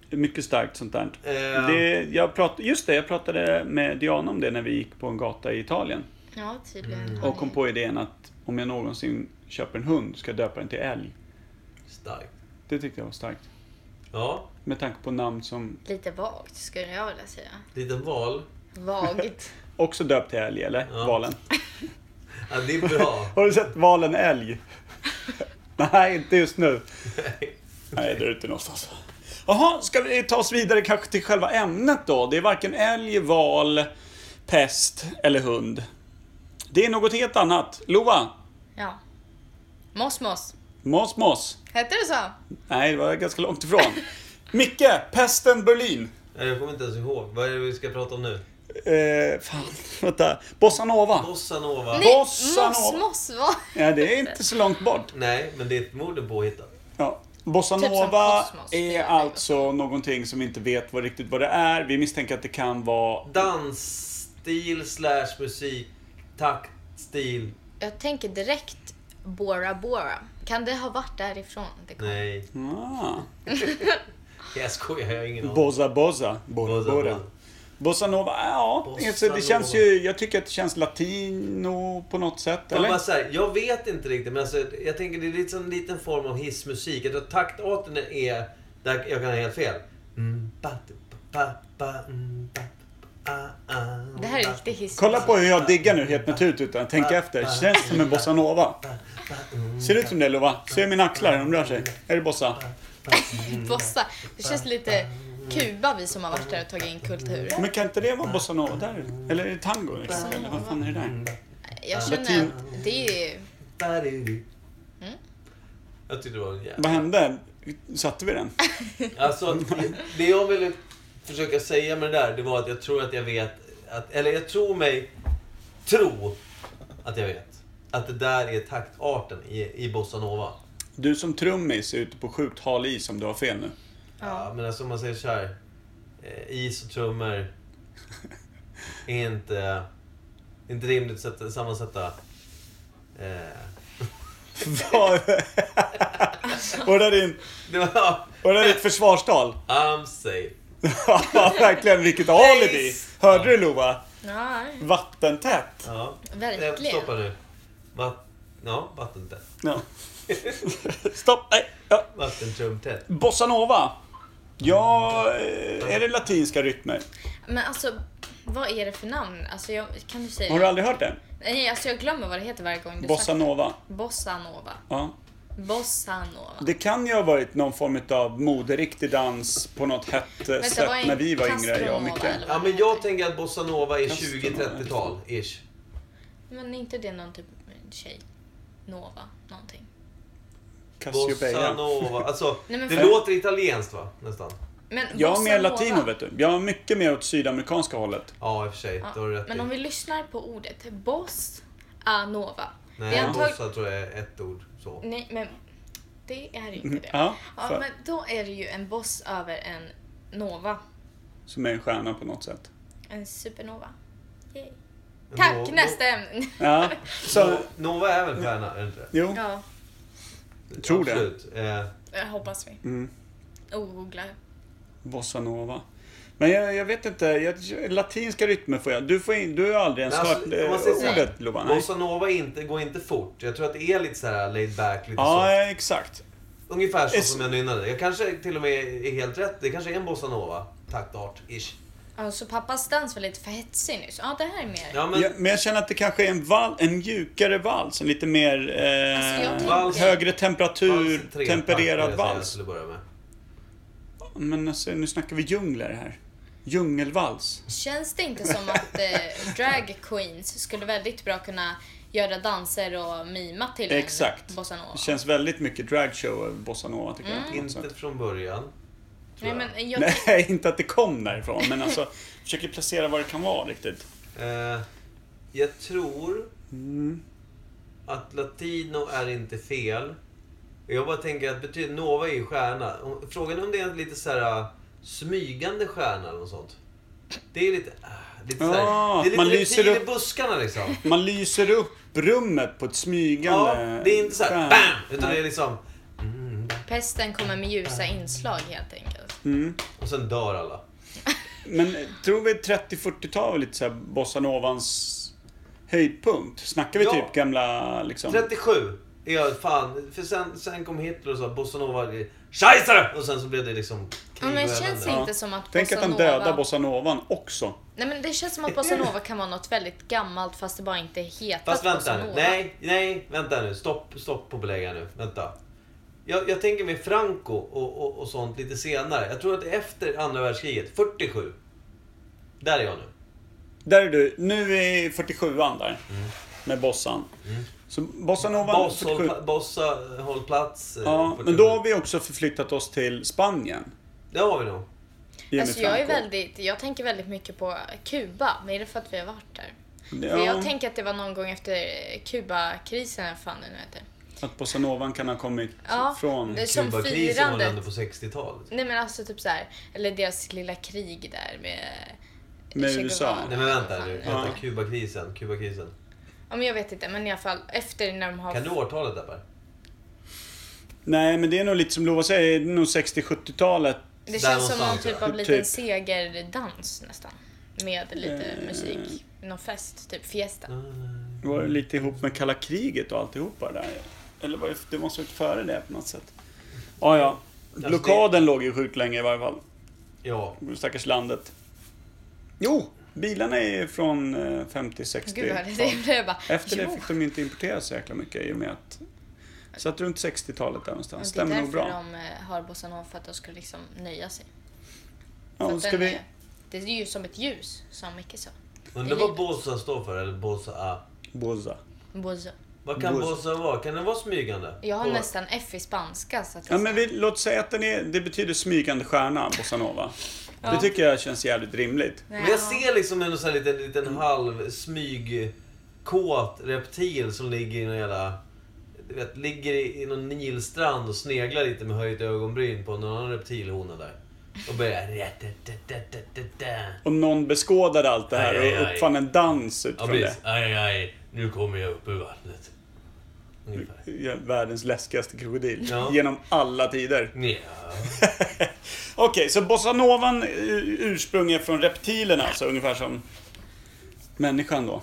E: Mycket starkt sånt där.
B: Eh,
E: Det, jag prat, just det, jag pratade med Diana om det när vi gick på en gata i Italien.
C: Ja, tydligen.
B: Mm.
E: Och kom på idén att om jag någonsin köper en hund ska jag döpa den till älg.
B: Starkt.
E: Det tyckte jag var starkt.
B: Ja,
E: Med tanke på namn som
C: Lite vagt skulle jag vilja säga.
B: liten val.
C: Vagt.
E: också döpt till älg, eller?
B: Ja.
E: Valen.
B: Ja, det är bra.
E: Har du sett valen älg? Nej, inte just nu. Nej, det är ute någonstans. Jaha, ska vi ta oss vidare kanske till själva ämnet då? Det är varken älg, val, pest eller hund. Det är något helt annat. Lova,
C: Ja. Moss Moss.
E: mos mos.
C: Hette det så?
E: Nej, det var ganska långt ifrån. Micke, pesten Berlin.
B: Nej, Jag kommer inte ens ihåg. Vad är det vi ska prata om nu?
E: Eh, fan, vänta. Bossanova.
B: Bossanova?
E: Nej. Bossanova.
C: Moss Moss var...
E: Ja, det är inte så långt bort.
B: Nej, men det är förmodligen påhittat.
E: Ja. Bossa
C: Typ som
E: nova
C: kosmos, det
E: är
C: är
E: alltså någonting som vi inte vet vad, riktigt vad det är. Vi misstänker att det kan vara...
B: Dansstil slash musik, taktstil.
C: Jag tänker direkt Bora Bora. Kan det ha varit därifrån? Det kom?
B: Nej,
E: Ah.
B: jag skojar. Jag har ingen aning.
E: Bossa bossa. Bora
B: Bossa
E: bora.
B: nova.
E: Bossa nova, ja.
B: Bossa
E: alltså, det känns
B: nova.
E: ju, jag tycker att det känns latino på något sätt.
B: Man
E: Eller?
B: bara så här, jag vet inte riktigt, men alltså, jag tänker det är lite som en liten form av hissmusik. Jag tror att taktarten är... Där jag kan ha helt fel. Mm, ba, du, ba, ba, mm, ba, ba, ah, ah,
C: Det här är
B: ba,
C: riktigt hiss.
E: Kolla på hur jag diggar nu helt naturligt utan att tänka efter. Känns det som en bossa nova?
B: ba, ba, mm,
E: Ser det ut som det Lova? Ser mina axlar hur de rör sig? Är det bossa?
C: Bossa. Det känns lite Kuba vi som har varit där och tagit in kulturen.
E: Men kan inte det vara bossa nova där? Eller är det tango? Liksom? Eller vad fan är det där?
C: Jag känner att det är...
B: ba, du, du.
C: Mm.
B: Jag tyckte det var en jävla...
E: Vad hände? Satte vi den?
B: Alltså, det- det jag ville försöka säga med det där, det var att jag tror att jag vet... Att, eller jag tror mig tro att jag vet. Att det där är taktarten i, i bossanova.
E: Du som trummis är ute på sjukt hal is om du har fel nu.
B: Ja, men alltså om man säger så här. eh, Is och trummor är inte, inte rimligt sätt, sammansatta. Eh,
E: Vad- Var det din,
B: det var
E: var det ditt försvarstal?
B: I'm safe.
E: Ja, Verkligen, vilket alibi! Hörde du Lova?
C: Ja,
E: Vattentätt!
B: Ja. Eh,
C: verkligen.
B: Stoppa nu. Vatt, ja, vattentätt.
E: Ja. Stopp! Nej. Ja.
B: Vattentrumtätt.
E: Bossa nova. Ja, eh, är det latinska rytmer?
C: Men alltså, vad är det för namn? Alltså, jag, kan du
E: Har du
C: säga?
E: aldrig hört det?
C: Nej, alltså jag glömmer vad det heter varje gång du
E: Bossa
C: sagt det.
E: nova.
C: Bossa Nova.
E: Ja.
C: Bossa Nova.
E: Det kan ju ha varit någon form av moderiktig dans på något hett
C: Vänta,
E: eh,
C: vad är
E: sätt
C: en
E: när vi var yngre, jag och
C: castronova,
E: Micke.
C: eller
B: Ja,
C: vad det
B: men
C: heter?
B: jag tänker att bossanova är
E: Kastar man
B: 20-30-tal, ish.
C: Men är inte det någon typ av tjej? Nova, någonting.
E: Cassiopeia.
B: Bossanova. Alltså,
C: Nej, men
B: det
C: för-
B: låter italienskt va? Nästan.
C: Men
E: Jag är
C: bossa
E: mer
C: nova-
E: latino vet du. Jag är mycket mer åt sydamerikanska hållet.
B: Ja, i och för sig. Det har du
C: Ja.
B: rätt
C: Men om
B: i.
C: vi lyssnar på ordet boss a nova. det
B: Nej,
C: är antag...
B: bossa tror jag är ett ord. Så.
C: Nej, men det är ju inte det.
E: Mm. Ja,
C: Ja,
E: för,
C: men då är det ju en boss över en nova.
E: Som är en stjärna på något sätt.
C: En supernova. Yay.
B: Men
C: Tack,
B: no- no-
C: nästa ämne.
E: Ja, så...
B: No- Nova är väl stjärna, är det inte det?
E: Jo,
C: Ja,
E: tror det.
B: Absolut. Eh,
C: det hoppas vi. Oh,
E: Mm.
C: Ogoogla.
E: bossa nova. Men jag, jag vet inte, jag, latinska rytmer får jag. Du, får in, du har aldrig ens
B: Men alltså,
E: hört
B: om
E: eh,
B: man säger så här,
E: ordet Lovan? nej.
B: Bossa Nova är inte, går inte fort. Jag tror att det är lite så här laid back, lite
E: Ja,
B: så.
E: exakt.
B: Ungefär så
E: es-
B: som jag nynnade. Jag kanske till och med är helt rätt. Det kanske är en bossa nova. Taktart, ish.
C: Ja, så Alltså, pappas dans var lite för hetsig nyss. Ja, det här är mer...
B: Ja, men
E: Men, ja, men jag känner att det kanske är en, val, en mjukare vals, en lite mer
C: Alltså,
E: eh,
C: jag tänker-
B: vals-
E: högre
B: vals
E: temperatur,
B: tre
E: tempererad
B: pack, skulle jag säga,
E: vals.
B: till att börja med.
E: Men alltså, nu snackar vi djungler här. Djungelvals.
C: Känns det inte som att eh, drag queens skulle väldigt bra kunna göra danser och mima till
E: Exakt.
C: en bossanova?
E: Det känns väldigt mycket dragshow över bossanova tycker jag. på något
B: Mm. Inte
E: sätt.
B: från början. tror
C: Mm. Nej,
B: jag.
C: men jag,
E: Nej, inte att det kom därifrån, men alltså försöker placera vad det kan vara riktigt.
B: Eh, jag tror
E: Mm.
B: att latino är inte fel. Jag bara tänker att betyder, Nova är ju stjärna. Om- Frågan är om det är lite så här äh, smygande stjärna eller något sånt. Det är lite... ah, lite så här, det
E: Ja,
B: är lite
E: man lyser
B: reptil i
E: upp-
B: buskarna liksom.
E: Man lyser upp rummet på ett
B: Ja,
E: smygande...
B: det är inte så här
E: skär.
B: BAM! Utan det är liksom... Mm,
C: pesten kommer med ljusa inslag helt enkelt.
E: Mm.
B: och sen dör alla.
E: Men eh, tror vi 30-40-tal är lite så här bossanovans höjdpunkt? Snackar vi
B: Ja.
E: typ gamla liksom...
B: 37 är jag fan... För sen, sen kom Hitler och sa bossanova... Scheissare! Och sen så blev det liksom
C: Ja, men
B: krig och
C: Mm. känns det
B: elände.
C: inte som att
E: Tänk att han
C: bossanova-
E: dödar bossanovan också.
C: Nej men det känns som att bossanova kan vara något väldigt gammalt fast det bara inte hetat
B: Fast vänta nu.
C: bossanova.
B: Nej, nej, vänta nu. Stopp, stopp på belägg här nu. Vänta. Jag, jag tänker mig Franco och, och, och sånt lite senare. Jag tror att efter andra världskriget, 47. Där är jag nu.
E: Där är du. Nu är 47an där. Med bossan. Så bossanovan
B: Mm. Boss,
E: 47.
B: håll, bossa, håll plats. eh,
E: Ja,
B: 47.
E: men då har vi också förflyttat oss till Spanien.
B: Det har vi nog.
E: Jimmy
C: Alltså jag är
E: Franco.
C: väldigt, jag tänker väldigt mycket på Kuba, men är det för att vi har varit där?
E: Ja,
C: För jag tänker att det var någon gång efter Kubakrisen, eller vad fan det nu heter.
E: att bossanovan kan ha kommit
C: Ja,
E: från...
C: det- Som
B: Kubakrisen var väl
C: firandet.
B: ändå på 60-talet.
C: Nej men alltså typ så här, eller deras lilla krig där med...
E: Med
C: Che
E: USA.
C: Guevara.
B: Nej men vänta nu.
C: Ja.
B: Vänta, Kubakrisen. Kubakrisen.
C: Ja men jag vet inte, men i alla fall efter när de har...
B: Kan du årtalet där Per?
E: Nej, men det är nog lite som Lova säger, det är nog 60-70-talet.
C: Det
B: Där
C: känns som någon
B: någonstans,
C: typ
B: ja.
C: av liten
E: Typ.
C: segerdans nästan. Med lite
E: Eh.
C: musik. Någon fest, typ fiesta.
B: Mm.
E: Det var lite ihop med kalla kriget och alltihopa där. Eller var det, det måste ha varit före det på något sätt. Ja, ja. Blockaden låg ju sjukt länge i varje fall.
B: Ja.
E: Stackars landet. Jo! Bilarna är ju från eh, 50, 60.
C: Gud vad det det blev bara...
E: Efter det
C: jo.
E: fick de ju inte importera så jäkla mycket i och med att... Så att runt 60-talet där någonstans.
C: Ja, det är
E: Stämmer nog
C: därför
E: bra.
C: de eh, har bossanova, för att de ska liksom nöja sig. För
E: Ja, och
C: att
E: ska
C: den
E: vi...
C: är- Det är ju som ett ljus, som Micke sa.
B: Undrar vad bossa står för eller bossa a.
E: Boza.
C: Bozo.
B: Vad kan
E: Bossa.
B: bossa vara? Kan det vara smygande?
C: Jag har
B: Och-
C: nästan F i spanska. Så att
E: Ja,
C: jag
E: men vi, låt säga att den är, det betyder smygande stjärna, bossanova. Det tycker jag känns jävligt rimligt.
B: Men jag ser liksom en sån här liten, liten halv smygkåt reptil som ligger i någon jävla... Du vet, ligger i, i någon nilstrand och sneglar lite med höjt ögonbryn på någon annan reptilhona där. Och börjar...
E: Och någon beskådade allt det här
B: Aj, aj,
E: och
B: aj.
E: uppfann en dans
B: Ja
E: utifrån det.
B: precis. Aj, aj, aj. Nu kommer jag upp ur vattnet. Ungefär.
E: Ja, Världens läskigaste krokodil.
B: Ja.
E: Genom alla tider.
B: Ja.
E: Okej, så bossanovan eh, ursprung är från reptilerna alltså, ungefär som människan då.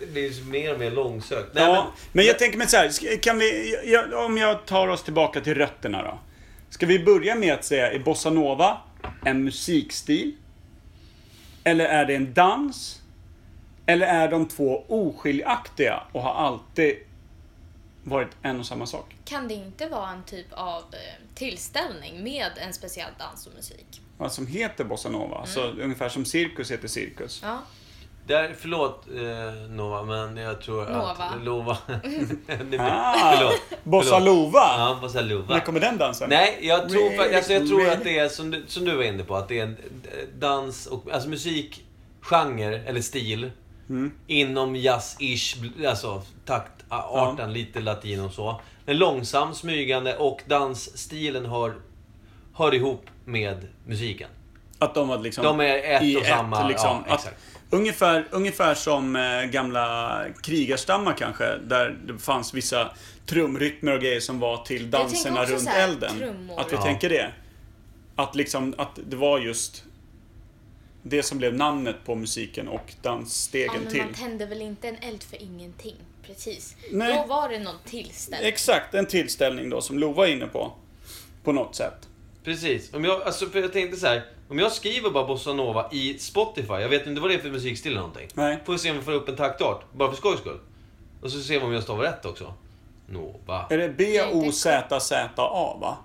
B: Det blir ju mer och mer långsökt. Nej,
E: Ja, men,
B: men,
E: jag tänker mig så här, ska- kan vi, jag, om jag tar oss tillbaka till rötterna då. Ska vi börja med att säga, är bossanova en musikstil? Eller är det en dans? Eller är de två oskiljaktiga och har alltid varit en och samma sak?
C: Kan det inte vara en typ av eh, tillställning med en speciell dans och musik?
E: Vad som heter bossanova, alltså
B: Mm.
E: ungefär som cirkus heter cirkus.
C: Ja.
B: där, förlåt eh, Nova, men jag tror
C: Nova.
B: att... Lova.
E: Ah, bossalova!
B: Ja, vad säger Lova?
E: När kommer den dansen?
B: Nej, jag tror,
E: Really?
B: fa- alltså, jag tror att det är som du, som du var inne på. Att det är en eh, dans och alltså musik, genre eller stil. Inom jazz-ish, bl- alltså taktarten, lite latin och så. Men långsam, smygande och dansstilen hör, hör ihop med musiken.
E: Att de var liksom
B: De är ett
E: i
B: och samma,
E: liksom.
B: ja,
E: Att-
B: exakt.
E: Ungefär, ungefär som eh, gamla krigarstammar kanske, där det fanns vissa trumrytmer och grejer som var till
C: tänker
E: danserna
C: också
E: runt
C: så här,
E: elden.
C: trummor.
E: Att vi
B: Ja.
E: tänker det. Att liksom, att det var just det som blev namnet på musiken och
C: ja,
E: dansstegen
C: men
E: till.
C: man tände väl inte en eld för ingenting? Precis.
E: Nej.
C: Då var det någon tillställning.
E: Exakt, en tillställning då som Lova är inne på. På något sätt.
B: Precis. Om jag, alltså, för jag tänkte så här. Om jag skriver bara bossanova i Spotify, jag vet inte vad det är för musikstil eller någonting.
E: Nej.
B: Får vi se om vi får upp en taktart, bara för skojs skull. Och så ser vi om jag stavar rätt också. Nova.
E: Är det B-O-Z-Z-A, va?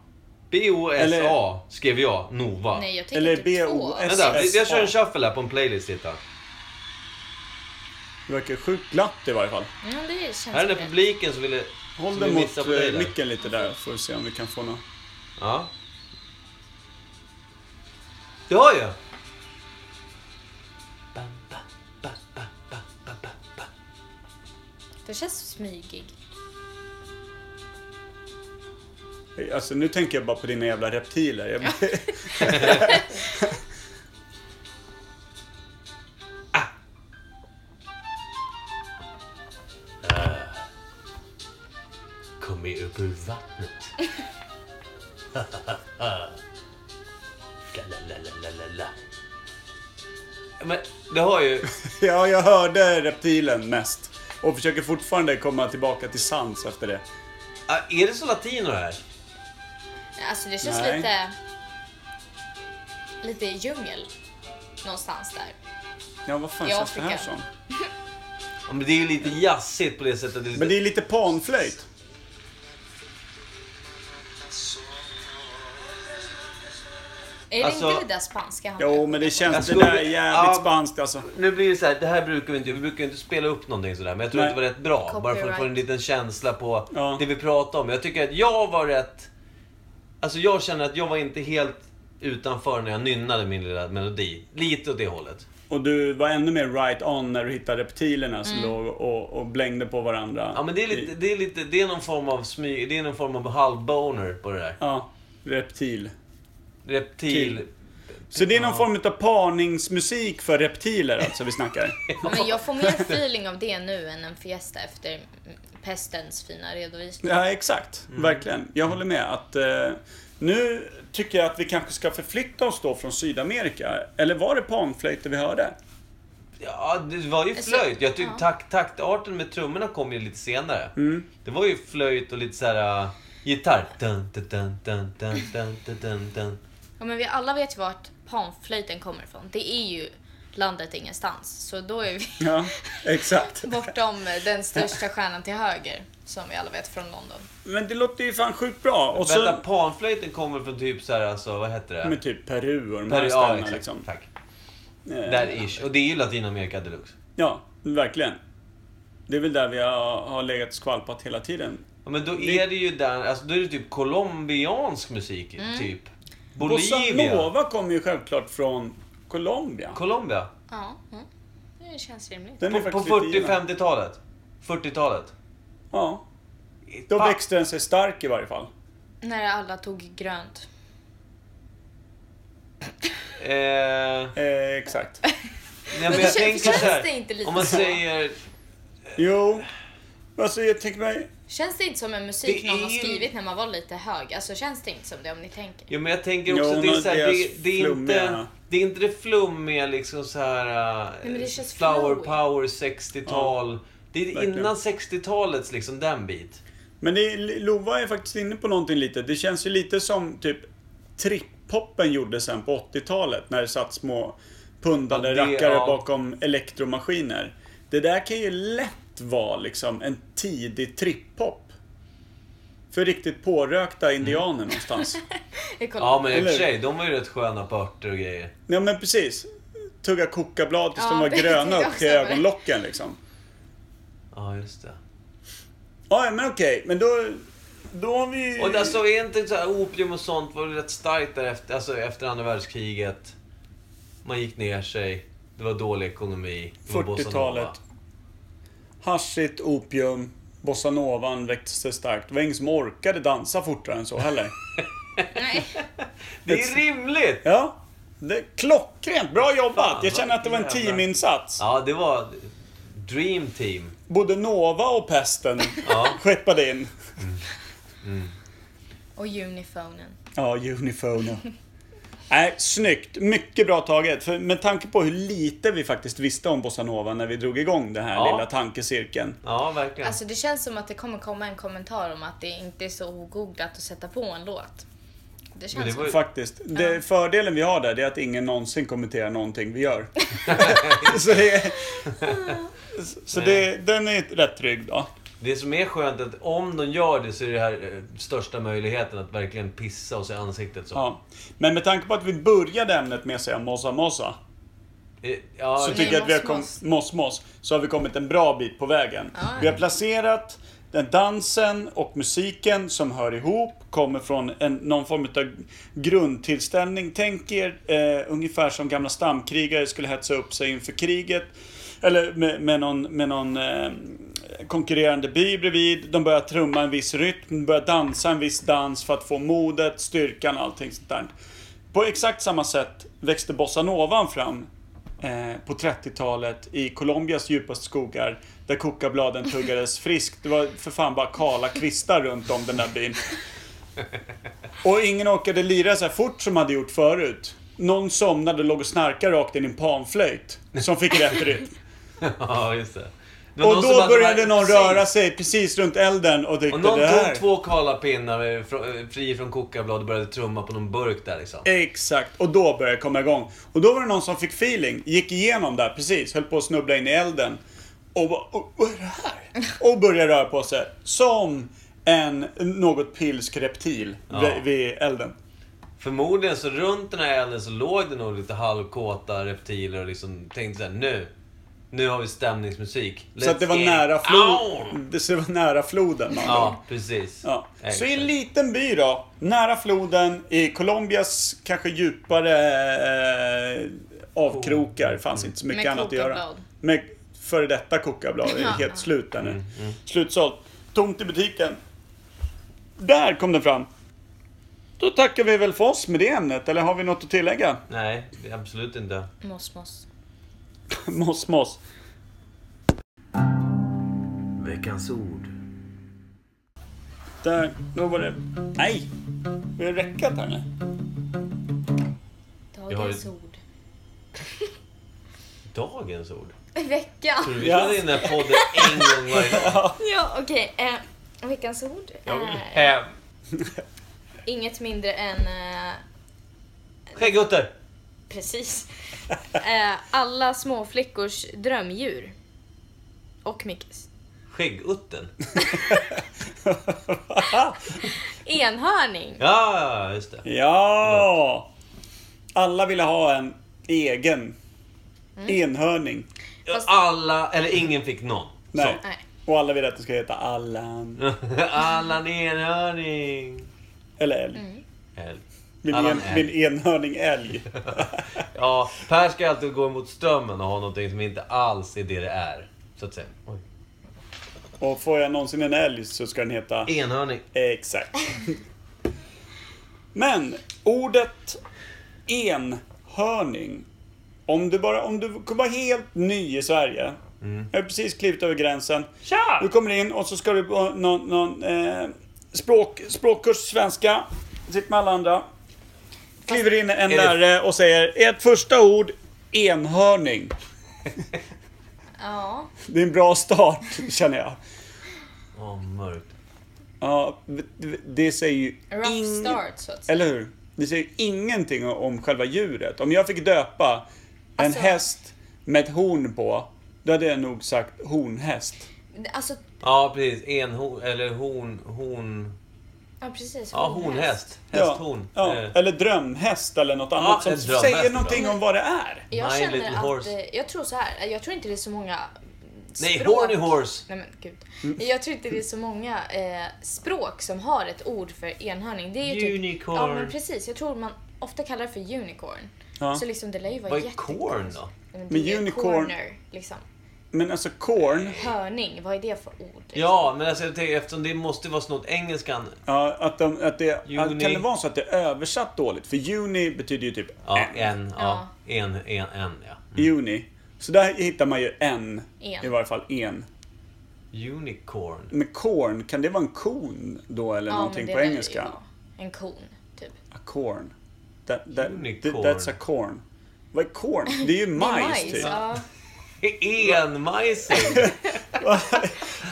B: B-O-S-A
E: Eller-
B: skrev jag, Nova.
C: Nej, jag tycker
E: Eller
C: typ två.
E: B-O-S-S-A.
B: Vänta, vi- jag kör en shuffle här på en playlist, titta.
E: Det verkar sjukt glatt i varje fall.
C: Ja, det känns
B: Här är den
C: rätt.
B: där publiken som ville...
E: Håll
B: som
E: den
B: vill visa
E: mot
B: på dig
E: eh,
B: där.
E: micken lite där, får vi se om vi kan få något.
B: Ja. Det har jag!
C: Det känns smygig.
E: Alltså nu tänker jag bara på dina jävla reptiler. Jag...
F: Kommit upp ur vattnet. la, la, la, la, la, la, la.
B: Men det har ju...
E: ja, jag hörde reptilen mest. Och försöker fortfarande komma tillbaka till sans efter det.
B: Ah, Är det så latino det här?
C: Alltså det känns
E: Nej.
C: lite... Lite djungel. Någonstans där.
E: Ja, vad fan
C: I
E: känns det här
C: Afrika.
E: som?
B: Ja, men det är ju lite jazzigt på det sättet. Det är
E: Men
B: lite...
E: det är lite panflöjt.
C: Är det
B: Alltså-
C: inte det där spanska han
E: Jo, men det känns... Det
B: Jag skulle-
E: där är jävligt
B: Ja.
E: spanskt alltså.
B: Nu blir det så här, det här brukar vi inte Vi brukar ju inte spela upp någonting sådär. Men jag tror
E: Nej.
B: att det var rätt bra. Bara för att få en
C: Copyright.
B: liten känsla på
E: Ja.
B: det vi pratade om. Jag tycker att jag var rätt... Alltså jag känner att jag var inte helt utanför när jag nynnade min lilla melodi. Lite åt det hållet.
E: Och du var ännu mer right on när du hittade reptilerna som
C: Mm.
E: låg och, och blängde på varandra.
B: Ja men det är lite, det är lite, det är någon form av smyg, det är någon form av halvboner på det där.
E: Ja, reptil.
B: Reptil.
E: Till. Så det är någon form av parningsmusik för reptiler alltså vi snackar?
C: Men jag får mer feeling av det nu än en fiesta efter mm, pestens fina redovisning.
E: Ja, exakt.
B: Mm.
E: Verkligen. Jag håller med att eh, nu tycker jag att vi kanske ska förflytta oss då från Sydamerika. Eller var det panflöjter vi hörde?
B: Ja, det var ju
C: Så-
B: flöjt. Jag tyckte
C: ja.
B: takt, taktarten med trummorna kom ju lite senare.
E: Mm.
B: Det var ju flöjt och lite så här äh, gitarr. Dun, dun, dun, dun, dun, dun, dun, dun, dun.
C: Ja, men vi alla vet ju vart panflöjten kommer ifrån. Det är ju landet ingenstans. Så då är vi
E: Ja, exakt.
C: bortom eh, den största stjärnan till höger. Som vi alla vet från London.
E: Men det låter ju fan sjukt bra. Och
B: Vänta,
E: så
B: panflöjten kommer från typ så här, alltså, vad heter det?
E: med typ Peru och de
B: Peru,
E: här
B: ja,
E: ställena
B: exakt.
E: liksom.
B: Tack.
E: Eh,
B: Där ish. Och det är ju Latinamerika deluxe.
E: Ja, verkligen. Det är väl där vi har, har legat och skvalpat hela tiden.
B: Ja, men då är det ju där, alltså då är det typ colombiansk musik,
C: Mm.
B: typ.
E: Bossa
B: Bolivia.
E: Nova kommer ju självklart från Colombia.
B: Colombia.
C: Ja, mm. det känns rimligt.
E: Den är
B: På, på
E: faktiskt lite given.
B: 40-50-talet. 40-talet.
E: Ja. Då
B: Fan.
E: växte den sig stark i varje fall.
C: När alla tog grönt.
B: Eh,
E: Eh, exakt.
B: Nej, men
C: det
B: jag
C: kän-
B: tänker
C: känns
B: så här,
C: det inte lite
B: Om man
C: så?
B: säger...
E: Jo. Alltså jag tänker mig...
C: Känns det inte som en musik
B: Det
C: någon har
B: är ju-
C: skrivit när man var lite hög? Alltså känns det inte som det om ni tänker?
B: Jo, men jag tänker också
E: Jo,
B: att det är
E: men
B: så här,
E: deras
B: det, det är inte...
E: flummiga-
B: Det är inte det flummiga liksom så här... eh,
C: Nej, men det känns
B: flower
C: flowy.
B: power 60-tal. det är
E: verkligen.
B: innan 60-talets liksom den bit.
E: Men det är, Lova är faktiskt inne på någonting lite. Det känns ju lite som typ trippoppen gjorde sen på 80-talet när det satt små pundade
B: Ja, det-
E: rackare
B: ja.
E: bakom elektromaskiner. Det där kan ju lätt vara liksom en tidig tripphop. För riktigt pårökta indianer någonstans.
C: Jag kollar.
B: Ja, men i och för
E: Eller?
B: sig, de var ju rätt sköna på örter och grejer.
E: Ja men precis. Tugga kokablad tills
C: Ja,
E: de var
C: det tänkte
E: gröna
C: jag
E: upp till
C: också på.
E: ögonlocken liksom.
B: Ja, just det.
E: Ja, men okej. Men då... Då har vi...
B: Och alltså, är inte så här, opium och sånt var väl rätt starkt där efter, alltså, efter andra världskriget. Man gick ner sig. Det var dålig ekonomi. Det var bossa nova.
E: 40-talet. Haschigt, opium, bossanovan växte sig starkt. Det var ingen som orkade dansa fortare än så heller.
C: Nej.
B: Det är rimligt!
E: Ja. Det är klockrent. Bra jobbat.
B: Fan,
E: jag känner att det var en
B: vad jävla-
E: teaminsats.
B: Ja, det var Dream Team.
E: Både Nova och pesten
B: Ja.
E: skeppade in.
C: Och unifonen.
E: Ja, Unifone. Nej, snyggt. Mycket bra taget. För med tanke på hur lite vi faktiskt visste om bossanova när vi drog igång den här
B: Ja.
E: lilla tankecirkeln.
B: Ja, verkligen.
C: Alltså det känns som att det kommer komma en kommentar om att det inte är så ogooglat att sätta på en låt. Det
B: Men det
C: känns
B: var ju...
E: Faktiskt. Det, fördelen vi har där det är att ingen någonsin kommenterar någonting vi gör. så det, så det, den är rätt trygg då.
B: Det som är skönt är att om de gör det så är det här eh, största möjligheten att verkligen pissa oss i ansiktet. Så.
E: Ja. Men med tanke på att vi började ämnet med att säga mossa mossa.
B: Eh, ja,
E: Så
B: det-
E: tycker jag att vi har
C: moss,
E: kom,
C: moss.
E: moss, moss, så har vi kommit en bra bit på vägen. Vi har placerat den dansen och musiken som hör ihop, kommer från en, någon form av grundtillställning. Tänk er eh, ungefär som gamla stamkrigare skulle hetsa upp sig inför kriget. Eller med, med någon, med någon eh, konkurrerande by bredvid. De börjar trumma en viss rytm, de börjar dansa en viss dans för att få modet, styrkan och allting sånt där. På exakt samma sätt växte bossanovan fram eh, på 30-talet i Colombias djupaste skogar där kokabladen tuggades friskt. Det var för fan bara kala kvistar runt om den där byn. Och ingen orkade lira så här fort som man hade gjort förut. Någon somnade och låg och snarkade rakt in i en panflöjt som fick rätt rytm.
B: ja, just det. Det var
E: Och
B: någon som
E: då
B: hade de
E: började
B: här-
E: någon röra sig precis runt elden och tyckte
B: Och någon
E: det här...
B: tog två kala pinnar eh, fr- eh, fri från kokablad och började trumma på någon burk där liksom.
E: Exakt, och då började jag komma igång. Och då var det någon som fick feeling, gick igenom där precis, höll på att snubbla in i elden. Och bara, "Åh, vad är det här? Och började röra på sig. Som en något pilsk reptil vid, vid elden.
B: Förmodligen så runt den här elden så låg det nog lite halvkåta reptiler och liksom tänkte såhär nu. Nu har vi stämningsmusik.
E: Så att det var nära,
B: floden.
E: flo- det- så det var nära floden. Man
B: Ja, precis.
E: Ja. Så i
B: Exakt.
E: en liten by då, nära floden, i Colombias kanske djupare eh,
B: Oh.
E: avkrokar, fanns inte så mycket
C: Med
E: annat att göra.
C: kokablad.
E: Med före detta kokablad, det är helt slut där nu.
B: Mm,
E: Slutsålt. Tomt i butiken. Där kom den fram. Då tackar vi väl för oss med det ämnet, eller har vi något att tillägga?
B: Nej, det är absolut inte.
C: Moss, moss.
E: Moss, moss.
B: Veckans ord.
E: Där, då var det... Nej! Vi har räckat här nu.
B: har
C: Dagens
B: ett-
C: ord.
B: Dagens ord.
C: Veckan.
B: Vi
E: Mm. Ja.
B: kör in den här podden en gång varje dag.
C: Ja, okej. Eh, veckans ord
B: Jag vill
C: är
B: hem.
C: inget mindre än... Eh,
B: Skägguttar!
C: precis. Eh, alla småflickors drömdjur. Och Mickes.
B: Skäggutten?
C: Enhörning.
B: Ja, just det.
E: Ja! Alla ville ha en egen enhörning.
C: Fast-
B: Alla, eller ingen fick någon.
E: Nej.
C: Nej.
E: Och alla ville att det ska heta Allan.
B: Allan Enhörning.
E: Eller älg.
B: Älg.
E: Min,
B: Allan
E: en, min
B: älg.
E: enhörning älg.
B: Ja, Per ska alltid gå emot strömmen och ha någonting som inte alls är det det är. Så att säga. Oj.
E: Och får jag någonsin en älg så ska den heta...
B: Enhörning.
E: Exakt. Men ordet enhörning. Om du bara, om du kommer vara helt ny i Sverige. Jag har precis klivit över gränsen.
A: Tja!
E: Du kommer in och så ska du på någon, någon eh, språk, språkkurs svenska. Sitt med alla andra. Kliver in en
B: det-
E: lärare och säger ert första ord enhörning.
C: Ja.
E: Det är en bra start känner jag.
B: Åh, mörkt.
E: Ja, det säger ju
C: Rough
E: ing-
C: start, så att säga.
E: Eller hur? Det säger ingenting om själva djuret. Om jag fick döpa en
C: Alltså-
E: häst med ett horn på, då hade jag nog sagt hornhäst.
C: Alltså,
B: Ja, precis. Enhorn, eller horn, horn...
C: ja precis.
B: Ja, hornhäst. Hästhorn.
E: Ja,
B: Eh,
E: ja. Eller drömhäst eller något annat som
B: en drömhäst
E: säger
B: är bra.
E: någonting om vad det är.
C: Jag
B: My
C: känner
B: little
C: att,
B: horse.
C: eh, jag tror så här. jag tror inte det är så många
B: Nej,
C: språk-
B: horny horse. Mm.
C: Nej men gud. Jag tror inte det är så många eh, språk som har ett ord för enhörning. Det är ju typ,
B: Unicorn.
C: Ja men precis, jag tror man ofta kallar det för unicorn.
E: Ja.
C: Så liksom det lär ju vara
B: Vad är
C: jätte-
B: corn då?
C: Nej,
E: Men
C: det är
E: unicorn-
C: Corner, liksom.
E: Men alltså korn,
C: Hörning, vad är det för ord? liksom?
B: Ja, men alltså, jag tänker, eftersom det måste vara snott engelskan.
E: ja, att, de, att det...
B: Juni.
E: Kan det vara så att det är översatt dåligt? För juni betyder ju typ
B: Ja,
E: en.
B: en, ja. En, en, en, ja.
E: Juni. Så där hittar man ju en,
C: En.
E: I varje fall en.
B: Unicorn.
E: Men korn, kan det vara en kon då eller
C: Ja, men
E: någonting
C: det
E: på
C: lär ju
E: engelska?
C: vara En kon, typ.
E: A corn. That, that,
B: Unicorn.
E: that's a corn. Vad är corn? Det är ju
C: Det är
E: majs, typ.
C: ja.
B: Enmajsing.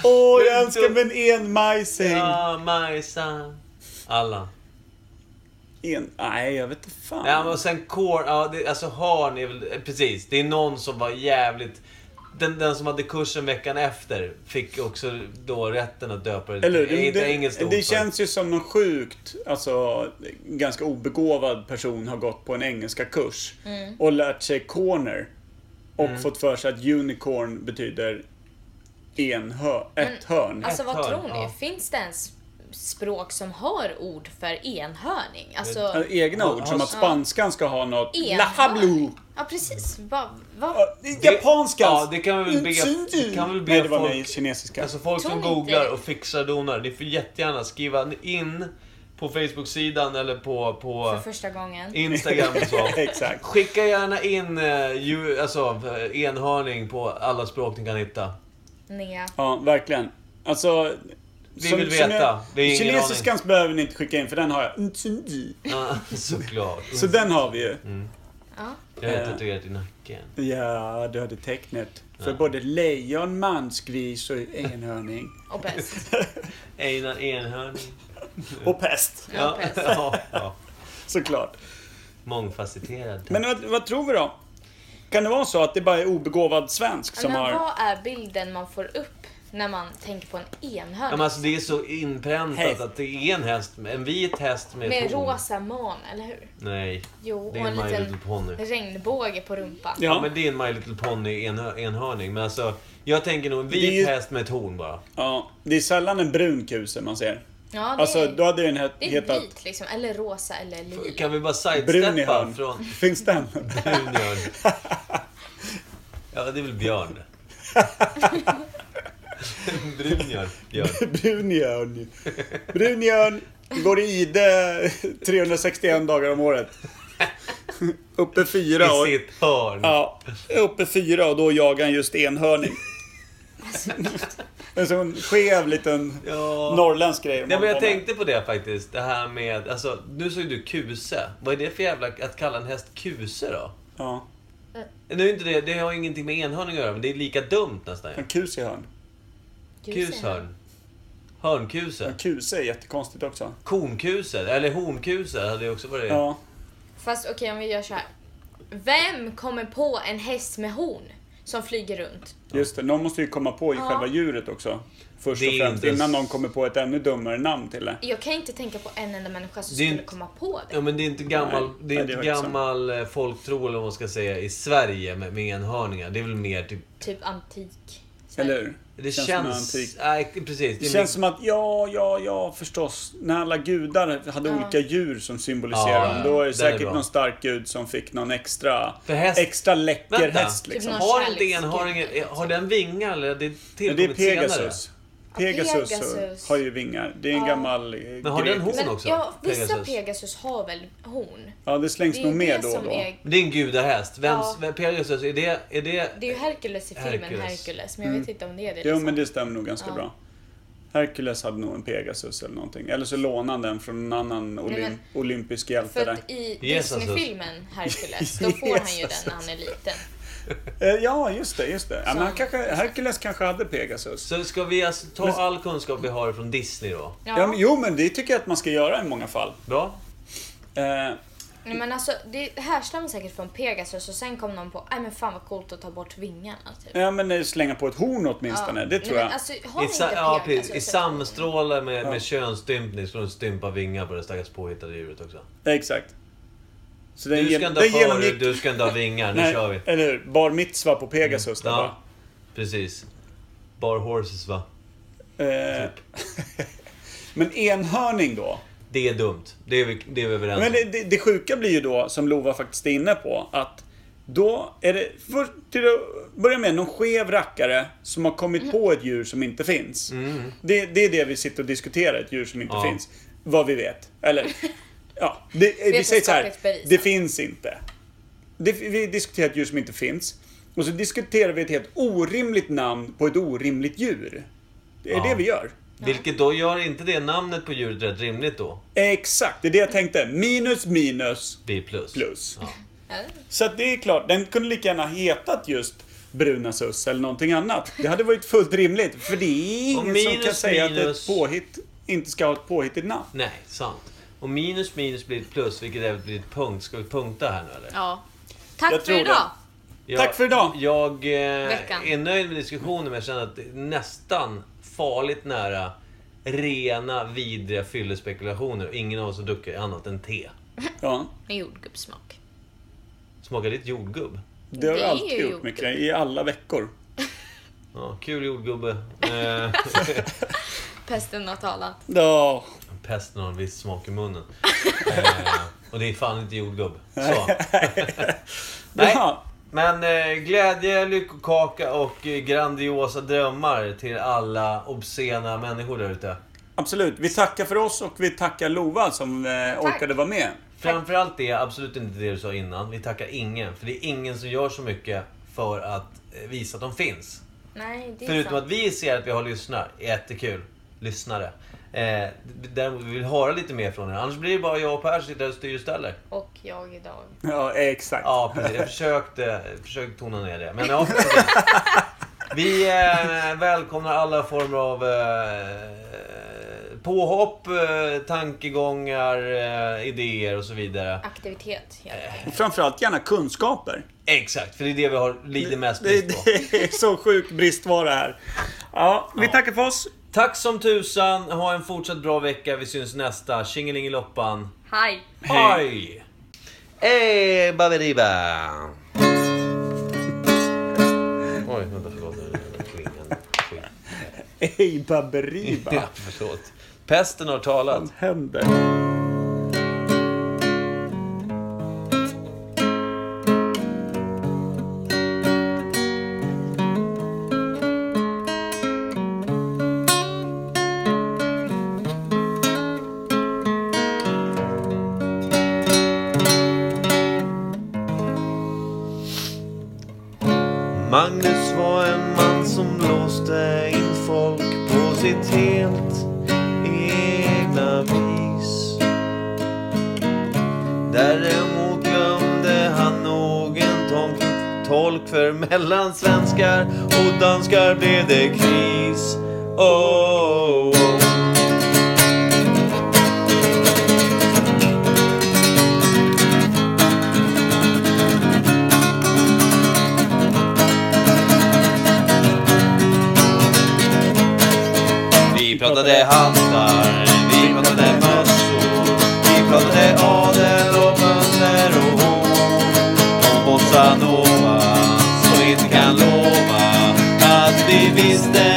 E: Åh, jag önskar mig en enmajsing!
B: Ja, majsa. Alla.
E: en... Nej, jag vet inte fan.
B: Ja, men sen core, ja, det, alltså hörn är väl, precis. Det är någon som var jävligt... Den, den som hade kursen veckan efter fick också då rätten att döpa det.
E: Eller hur?
B: det, är
E: det,
B: inte
E: det,
B: engelskt ord
E: det
B: för.
E: känns ju som någon sjukt, alltså ganska obegåvad person har gått på en engelska kurs och lärt sig corner och
B: Mm.
E: fått för sig att unicorn betyder en hö, ett hörn.
C: Alltså vad
B: Ett hörn,
C: tror ni?
B: ja.
C: Finns det ens språk som har ord för enhörning? Alltså,
E: Alltså, Egna ord, som att spanskan ska ha något...
C: Enhörning.
E: La hablu!
C: ja precis. Vad? vad?
B: Det-
E: Japanska!
B: Ja, det kan väl bli... Det kan väl bli
E: Nej, det var
B: folk,
E: nej, kinesiska.
B: Alltså folk som
C: Tror ni
B: googlar
C: inte-
B: och fixar och donar. Ni får jättegärna skriva in på Facebook-sidan eller på, på
C: För första gången.
B: Instagram och så.
E: Exakt.
B: Skicka gärna in eh, ju, alltså, eh, enhörning på alla språk ni kan hitta.
C: Nea.
E: Ja, verkligen. Alltså...
B: Vi vill veta. Det är ingen
E: kinesiskans behöver ni inte skicka in, för den har jag.
B: Ja, Såklart.
E: Så den har vi ju.
C: Ja.
B: Jag har
E: Eh.
B: tatuerat i nacken.
E: Ja, du hade tecknet. För
B: Ja.
E: både lejon, mansgris och enhörning.
C: Och bäst.
B: Einar Enhörning.
E: Och pest,
C: Ja, pest.
B: ja, ja.
E: såklart.
B: Mångfacetterad.
E: Men vad, vad tror vi då? Kan det vara så att det bara är obegåvad svensk som
C: Men
E: har...
C: vad är bilden man får upp när man tänker på en enhörning?
B: ja, men alltså, det är så inpräntat
E: Häst.
B: att det är en häst, en vit häst med,
C: Med
B: torn.
C: rosa man, eller hur?
B: Nej,
C: Jo,
B: det
C: och
B: är
C: en
B: en My Little
C: liten
B: Pony.
C: regnbåge på rumpan.
B: Ja.
E: Ja,
B: men det är en My Little Pony enhör, enhörning. Men alltså, jag tänker nog en vit
E: Det är ju-
B: häst med ett horn bara.
E: ja, det är sällan en brun kuse man ser.
C: Ja, det,
E: Alltså,
C: är,
E: då hade den het-
C: det är
E: hetat...
C: vit liksom, eller rosa eller liv.
B: Kan vi bara
E: Brun i
B: sidesteppa
E: hörn.
B: från...
E: Finns den?
B: Brun i hörn. Ja, det är väl björn. Brun björn. björn.
E: brun i hörn. Brun i hörn. Går i ide 361 dagar om året. Uppe fyra och...
B: I sitt hörn.
E: Ja, uppe fyra och då jagar han just enhörning.
C: Alltså,
E: en sån skev liten
B: Ja.
E: norrländsk grej. man
B: Nej, men jag
E: håller på med.
B: tänkte på det faktiskt. Det här med... Alltså, nu sa ju du kuse. Vad är det för jävla... Att kalla en häst kuse då?
E: Ja,
B: Nu är inte det, det har ju ingenting med enhörning att göra, men det är lika dumt nästan. ju.
E: en kus i hörn.
B: Kushörn. Hörnkuse.
E: En kuse är jättekonstigt också.
B: Kornkuse. Eller hornkuse hade ju också varit...
E: Ja.
C: Fast okej, om vi gör så här. Vem kommer på en häst med horn som flyger runt?
E: Just det, någon måste ju komma på i
C: Ja.
E: själva djuret också. Först
B: Det är
E: och främst,
B: inte-
E: innan någon kommer på ett ännu dummare namn till det.
C: Jag kan inte tänka på en enda människa som
B: Det är
C: skulle
B: inte-
C: komma på det.
B: Ja men det är inte gammal,
E: Nej,
B: det är
E: nej,
B: inte
E: det är faktiskt
B: gammal eh, folktro eller vad man ska säga i Sverige med, med enhörningar. Det är väl mer typ...
C: Typ antik.
E: Eller hur?
B: Det
E: som
B: känns...
E: en antik-
B: nej, precis.
E: Det
B: är
E: känns som att, ja, ja, ja, förstås. När alla gudar hade olika djur som symboliserar
B: Ja,
E: dem, då är det
B: den är
E: säkert
B: bra.
E: någon stark gud som fick någon extra,
B: För häst-
E: extra läcker
B: Vänta.
E: häst.
C: Typ
E: Liksom.
C: någon
B: Har inte
C: kärleksgud.
B: enhörningen... Har den vingar eller? är Det
E: Men det är
B: tillkommit senare.
E: Pegasus. Pegasus,
C: Ja, Pegasus.
E: har ju vingar. Det är en gammal eh,
B: Men har den
E: grek.
B: horn?
C: Men
B: också,
C: ja, vissa
B: Pegasus.
C: Pegasus. har väl horn?
E: Ja, det slängs
C: Det är
E: nog
C: ju
E: med
C: det
E: då och
C: som
E: då.
C: är...
B: Men Det är en gudahäst. Vems...
C: Ja.
B: vem- Pegasus, är det... Är det...
C: Det är ju Hercules i filmen
B: Hercules.
C: Hercules, men jag vet inte om det är det.
E: Mm. Jo,
C: liksom.
E: men det stämmer nog ganska
C: Ja.
E: bra. Herkules hade nog en Pegasus eller någonting. Eller så lånade han den från en annan olymp-
C: men-
E: olympisk hjälte
C: För
E: där.
C: att i
B: Jesus.
C: Disney-filmen Hercules, då får han ju
E: Jesus.
C: den när han är liten.
E: Eh, Ja, just det, just det. Ja, men han
C: Så-
E: kanske, Herkules kanske hade Pegasus.
B: Så ska vi alltså ta all kunskap vi har från Disney då?
C: Ja.
E: Ja, men, jo, men det tycker jag att man ska göra i många fall.
B: Bra?
E: Eh,
C: Nej, men alltså, det härstammar säkert från Pegasus och sen kom någon på nej men fan vad coolt att ta bort vingarna. Typ.
E: Ja men eh, slänga på ett horn åtminstone, det tror
C: Nej,
E: jag.
C: men alltså, har
B: I,
C: ni
B: sa,
C: inte
B: ja,
C: Pegasus?
B: precis. I samstråle med, med könsstympning ska de stympa vingar på det stackars påhittade djuret också.
E: Exakt. Så den,
B: Du ska
E: gen-
B: inte ha
E: den
B: förhud,
E: genomgick...
B: du ska inte ha vingar. Nu
E: Nej,
B: kör vi. Mm.
E: Eller hur? Bar mitzva på Pegasus där
B: Ja, precis. Bar horses va?
E: bara. Eh,
B: Typ.
E: Men enhörning då?
B: Det är dumt. Det är vi, det är vi överens om.
E: Men det, det, det sjuka blir ju då, som Lova faktiskt är inne på, att då är det för, till att börja med någon skev rackare som har kommit på ett djur som inte finns. Det, det är det vi sitter och diskuterar, ett djur som inte
B: Mm. Ja.
E: finns. Vad vi vet. Eller, ja. Det, vi säger så här,
C: Vetenskapligt bevisat.
E: det finns inte. Det, vi diskuterar ett djur som inte finns. Och så diskuterar vi ett helt orimligt namn på ett orimligt djur. Det är
B: Ja.
E: det vi gör.
B: Vilket då gör inte det namnet på djuret rätt rimligt då?
E: Exakt, det är det jag tänkte. Minus minus
B: Blir plus.
E: plus.
B: Ja.
C: Eller?
E: Så att det är klart, den kunde lika gärna hetat just Brunasus eller någonting annat. Det hade varit fullt rimligt. För det är
B: Och
E: ingen som
B: minus,
E: kan säga att ett
B: minus.
E: påhitt inte ska ha ett påhittigt namn.
B: Nej, sant. Och minus minus blir ett plus, vilket även blir ett punkt. Ska vi punkta här nu eller?
C: Ja. Tack
E: Jag
C: för
E: tror det.
C: idag.
B: Jag,
E: Tack för idag.
B: Jag eh,
C: Veckan.
B: är nöjd med diskussionen men jag känner att det är nästan farligt nära rena vidriga fyllespekulationer och ingen av oss dricker annat än te.
E: Ja.
C: Med jordgubbssmak.
B: Smakar ditt jordgubb?
E: Det har
C: Det
E: jag
C: är
E: alltid
C: ju
E: gjort,
C: gjort.
E: Micke. I alla veckor.
B: Ja, kul jordgubbe. Eh,
C: Pesten och talat.
E: Ja.
B: Pesten har en viss smak i munnen. Eh, och det är fan inte jordgubb. Så. Nej.
E: Jaha.
B: Men eh, glädje, lyckokaka och eh, grandiosa drömmar till alla obscena människor där ute.
E: Absolut. Vi tackar för oss och vi tackar Lova som eh, orkade vara med.
B: Framförallt det, absolut inte det du sa innan. Vi tackar ingen. För det är ingen som gör så mycket för att eh, visa att de finns.
C: Nej, det är
B: Förutom
C: sant.
B: att vi ser att vi har lyssnare. Jättekul. Lyssnare. Eh, däremot vill vi höra lite mer från er. Annars blir det bara jag och Per som sitter och styr och ställer.
C: Och jag idag.
E: Ja, exakt.
B: Ja, precis. Jag försökte, försökte tona ner det. Men ja, vi eh, välkomnar alla former av eh, påhopp, eh, tankegångar, eh, idéer och så vidare.
C: Aktivitet. Ja.
E: Och Framförallt gärna kunskaper.
B: Exakt, för det är det vi har, lider mest
E: Det,
B: brist på.
E: det är så sjuk bristvara här. Ja, vi tackar för oss.
B: Tack som tusan, ha en fortsatt bra vecka. Vi syns nästa. Tjingelingiloppan.
C: Hej.
B: Hej! Hej, baberiba! Oj, vänta, förlåt. Det klingade. Skit.
E: Hej Baberiba.
B: Ja, förlåt. Pesten har talat.
E: Vad händer?
B: Magnus var en man som blåste in folk på sitt helt egna vis. Däremot glömde han någon tolk, tolk för mellan svenskar och danskar blev det kris. Oh, oh, oh. Vi pratade hattar, vi pratade mössor, vi pratade adel och bönder och hår. Om bossa nova, så inte kan lova att vi visste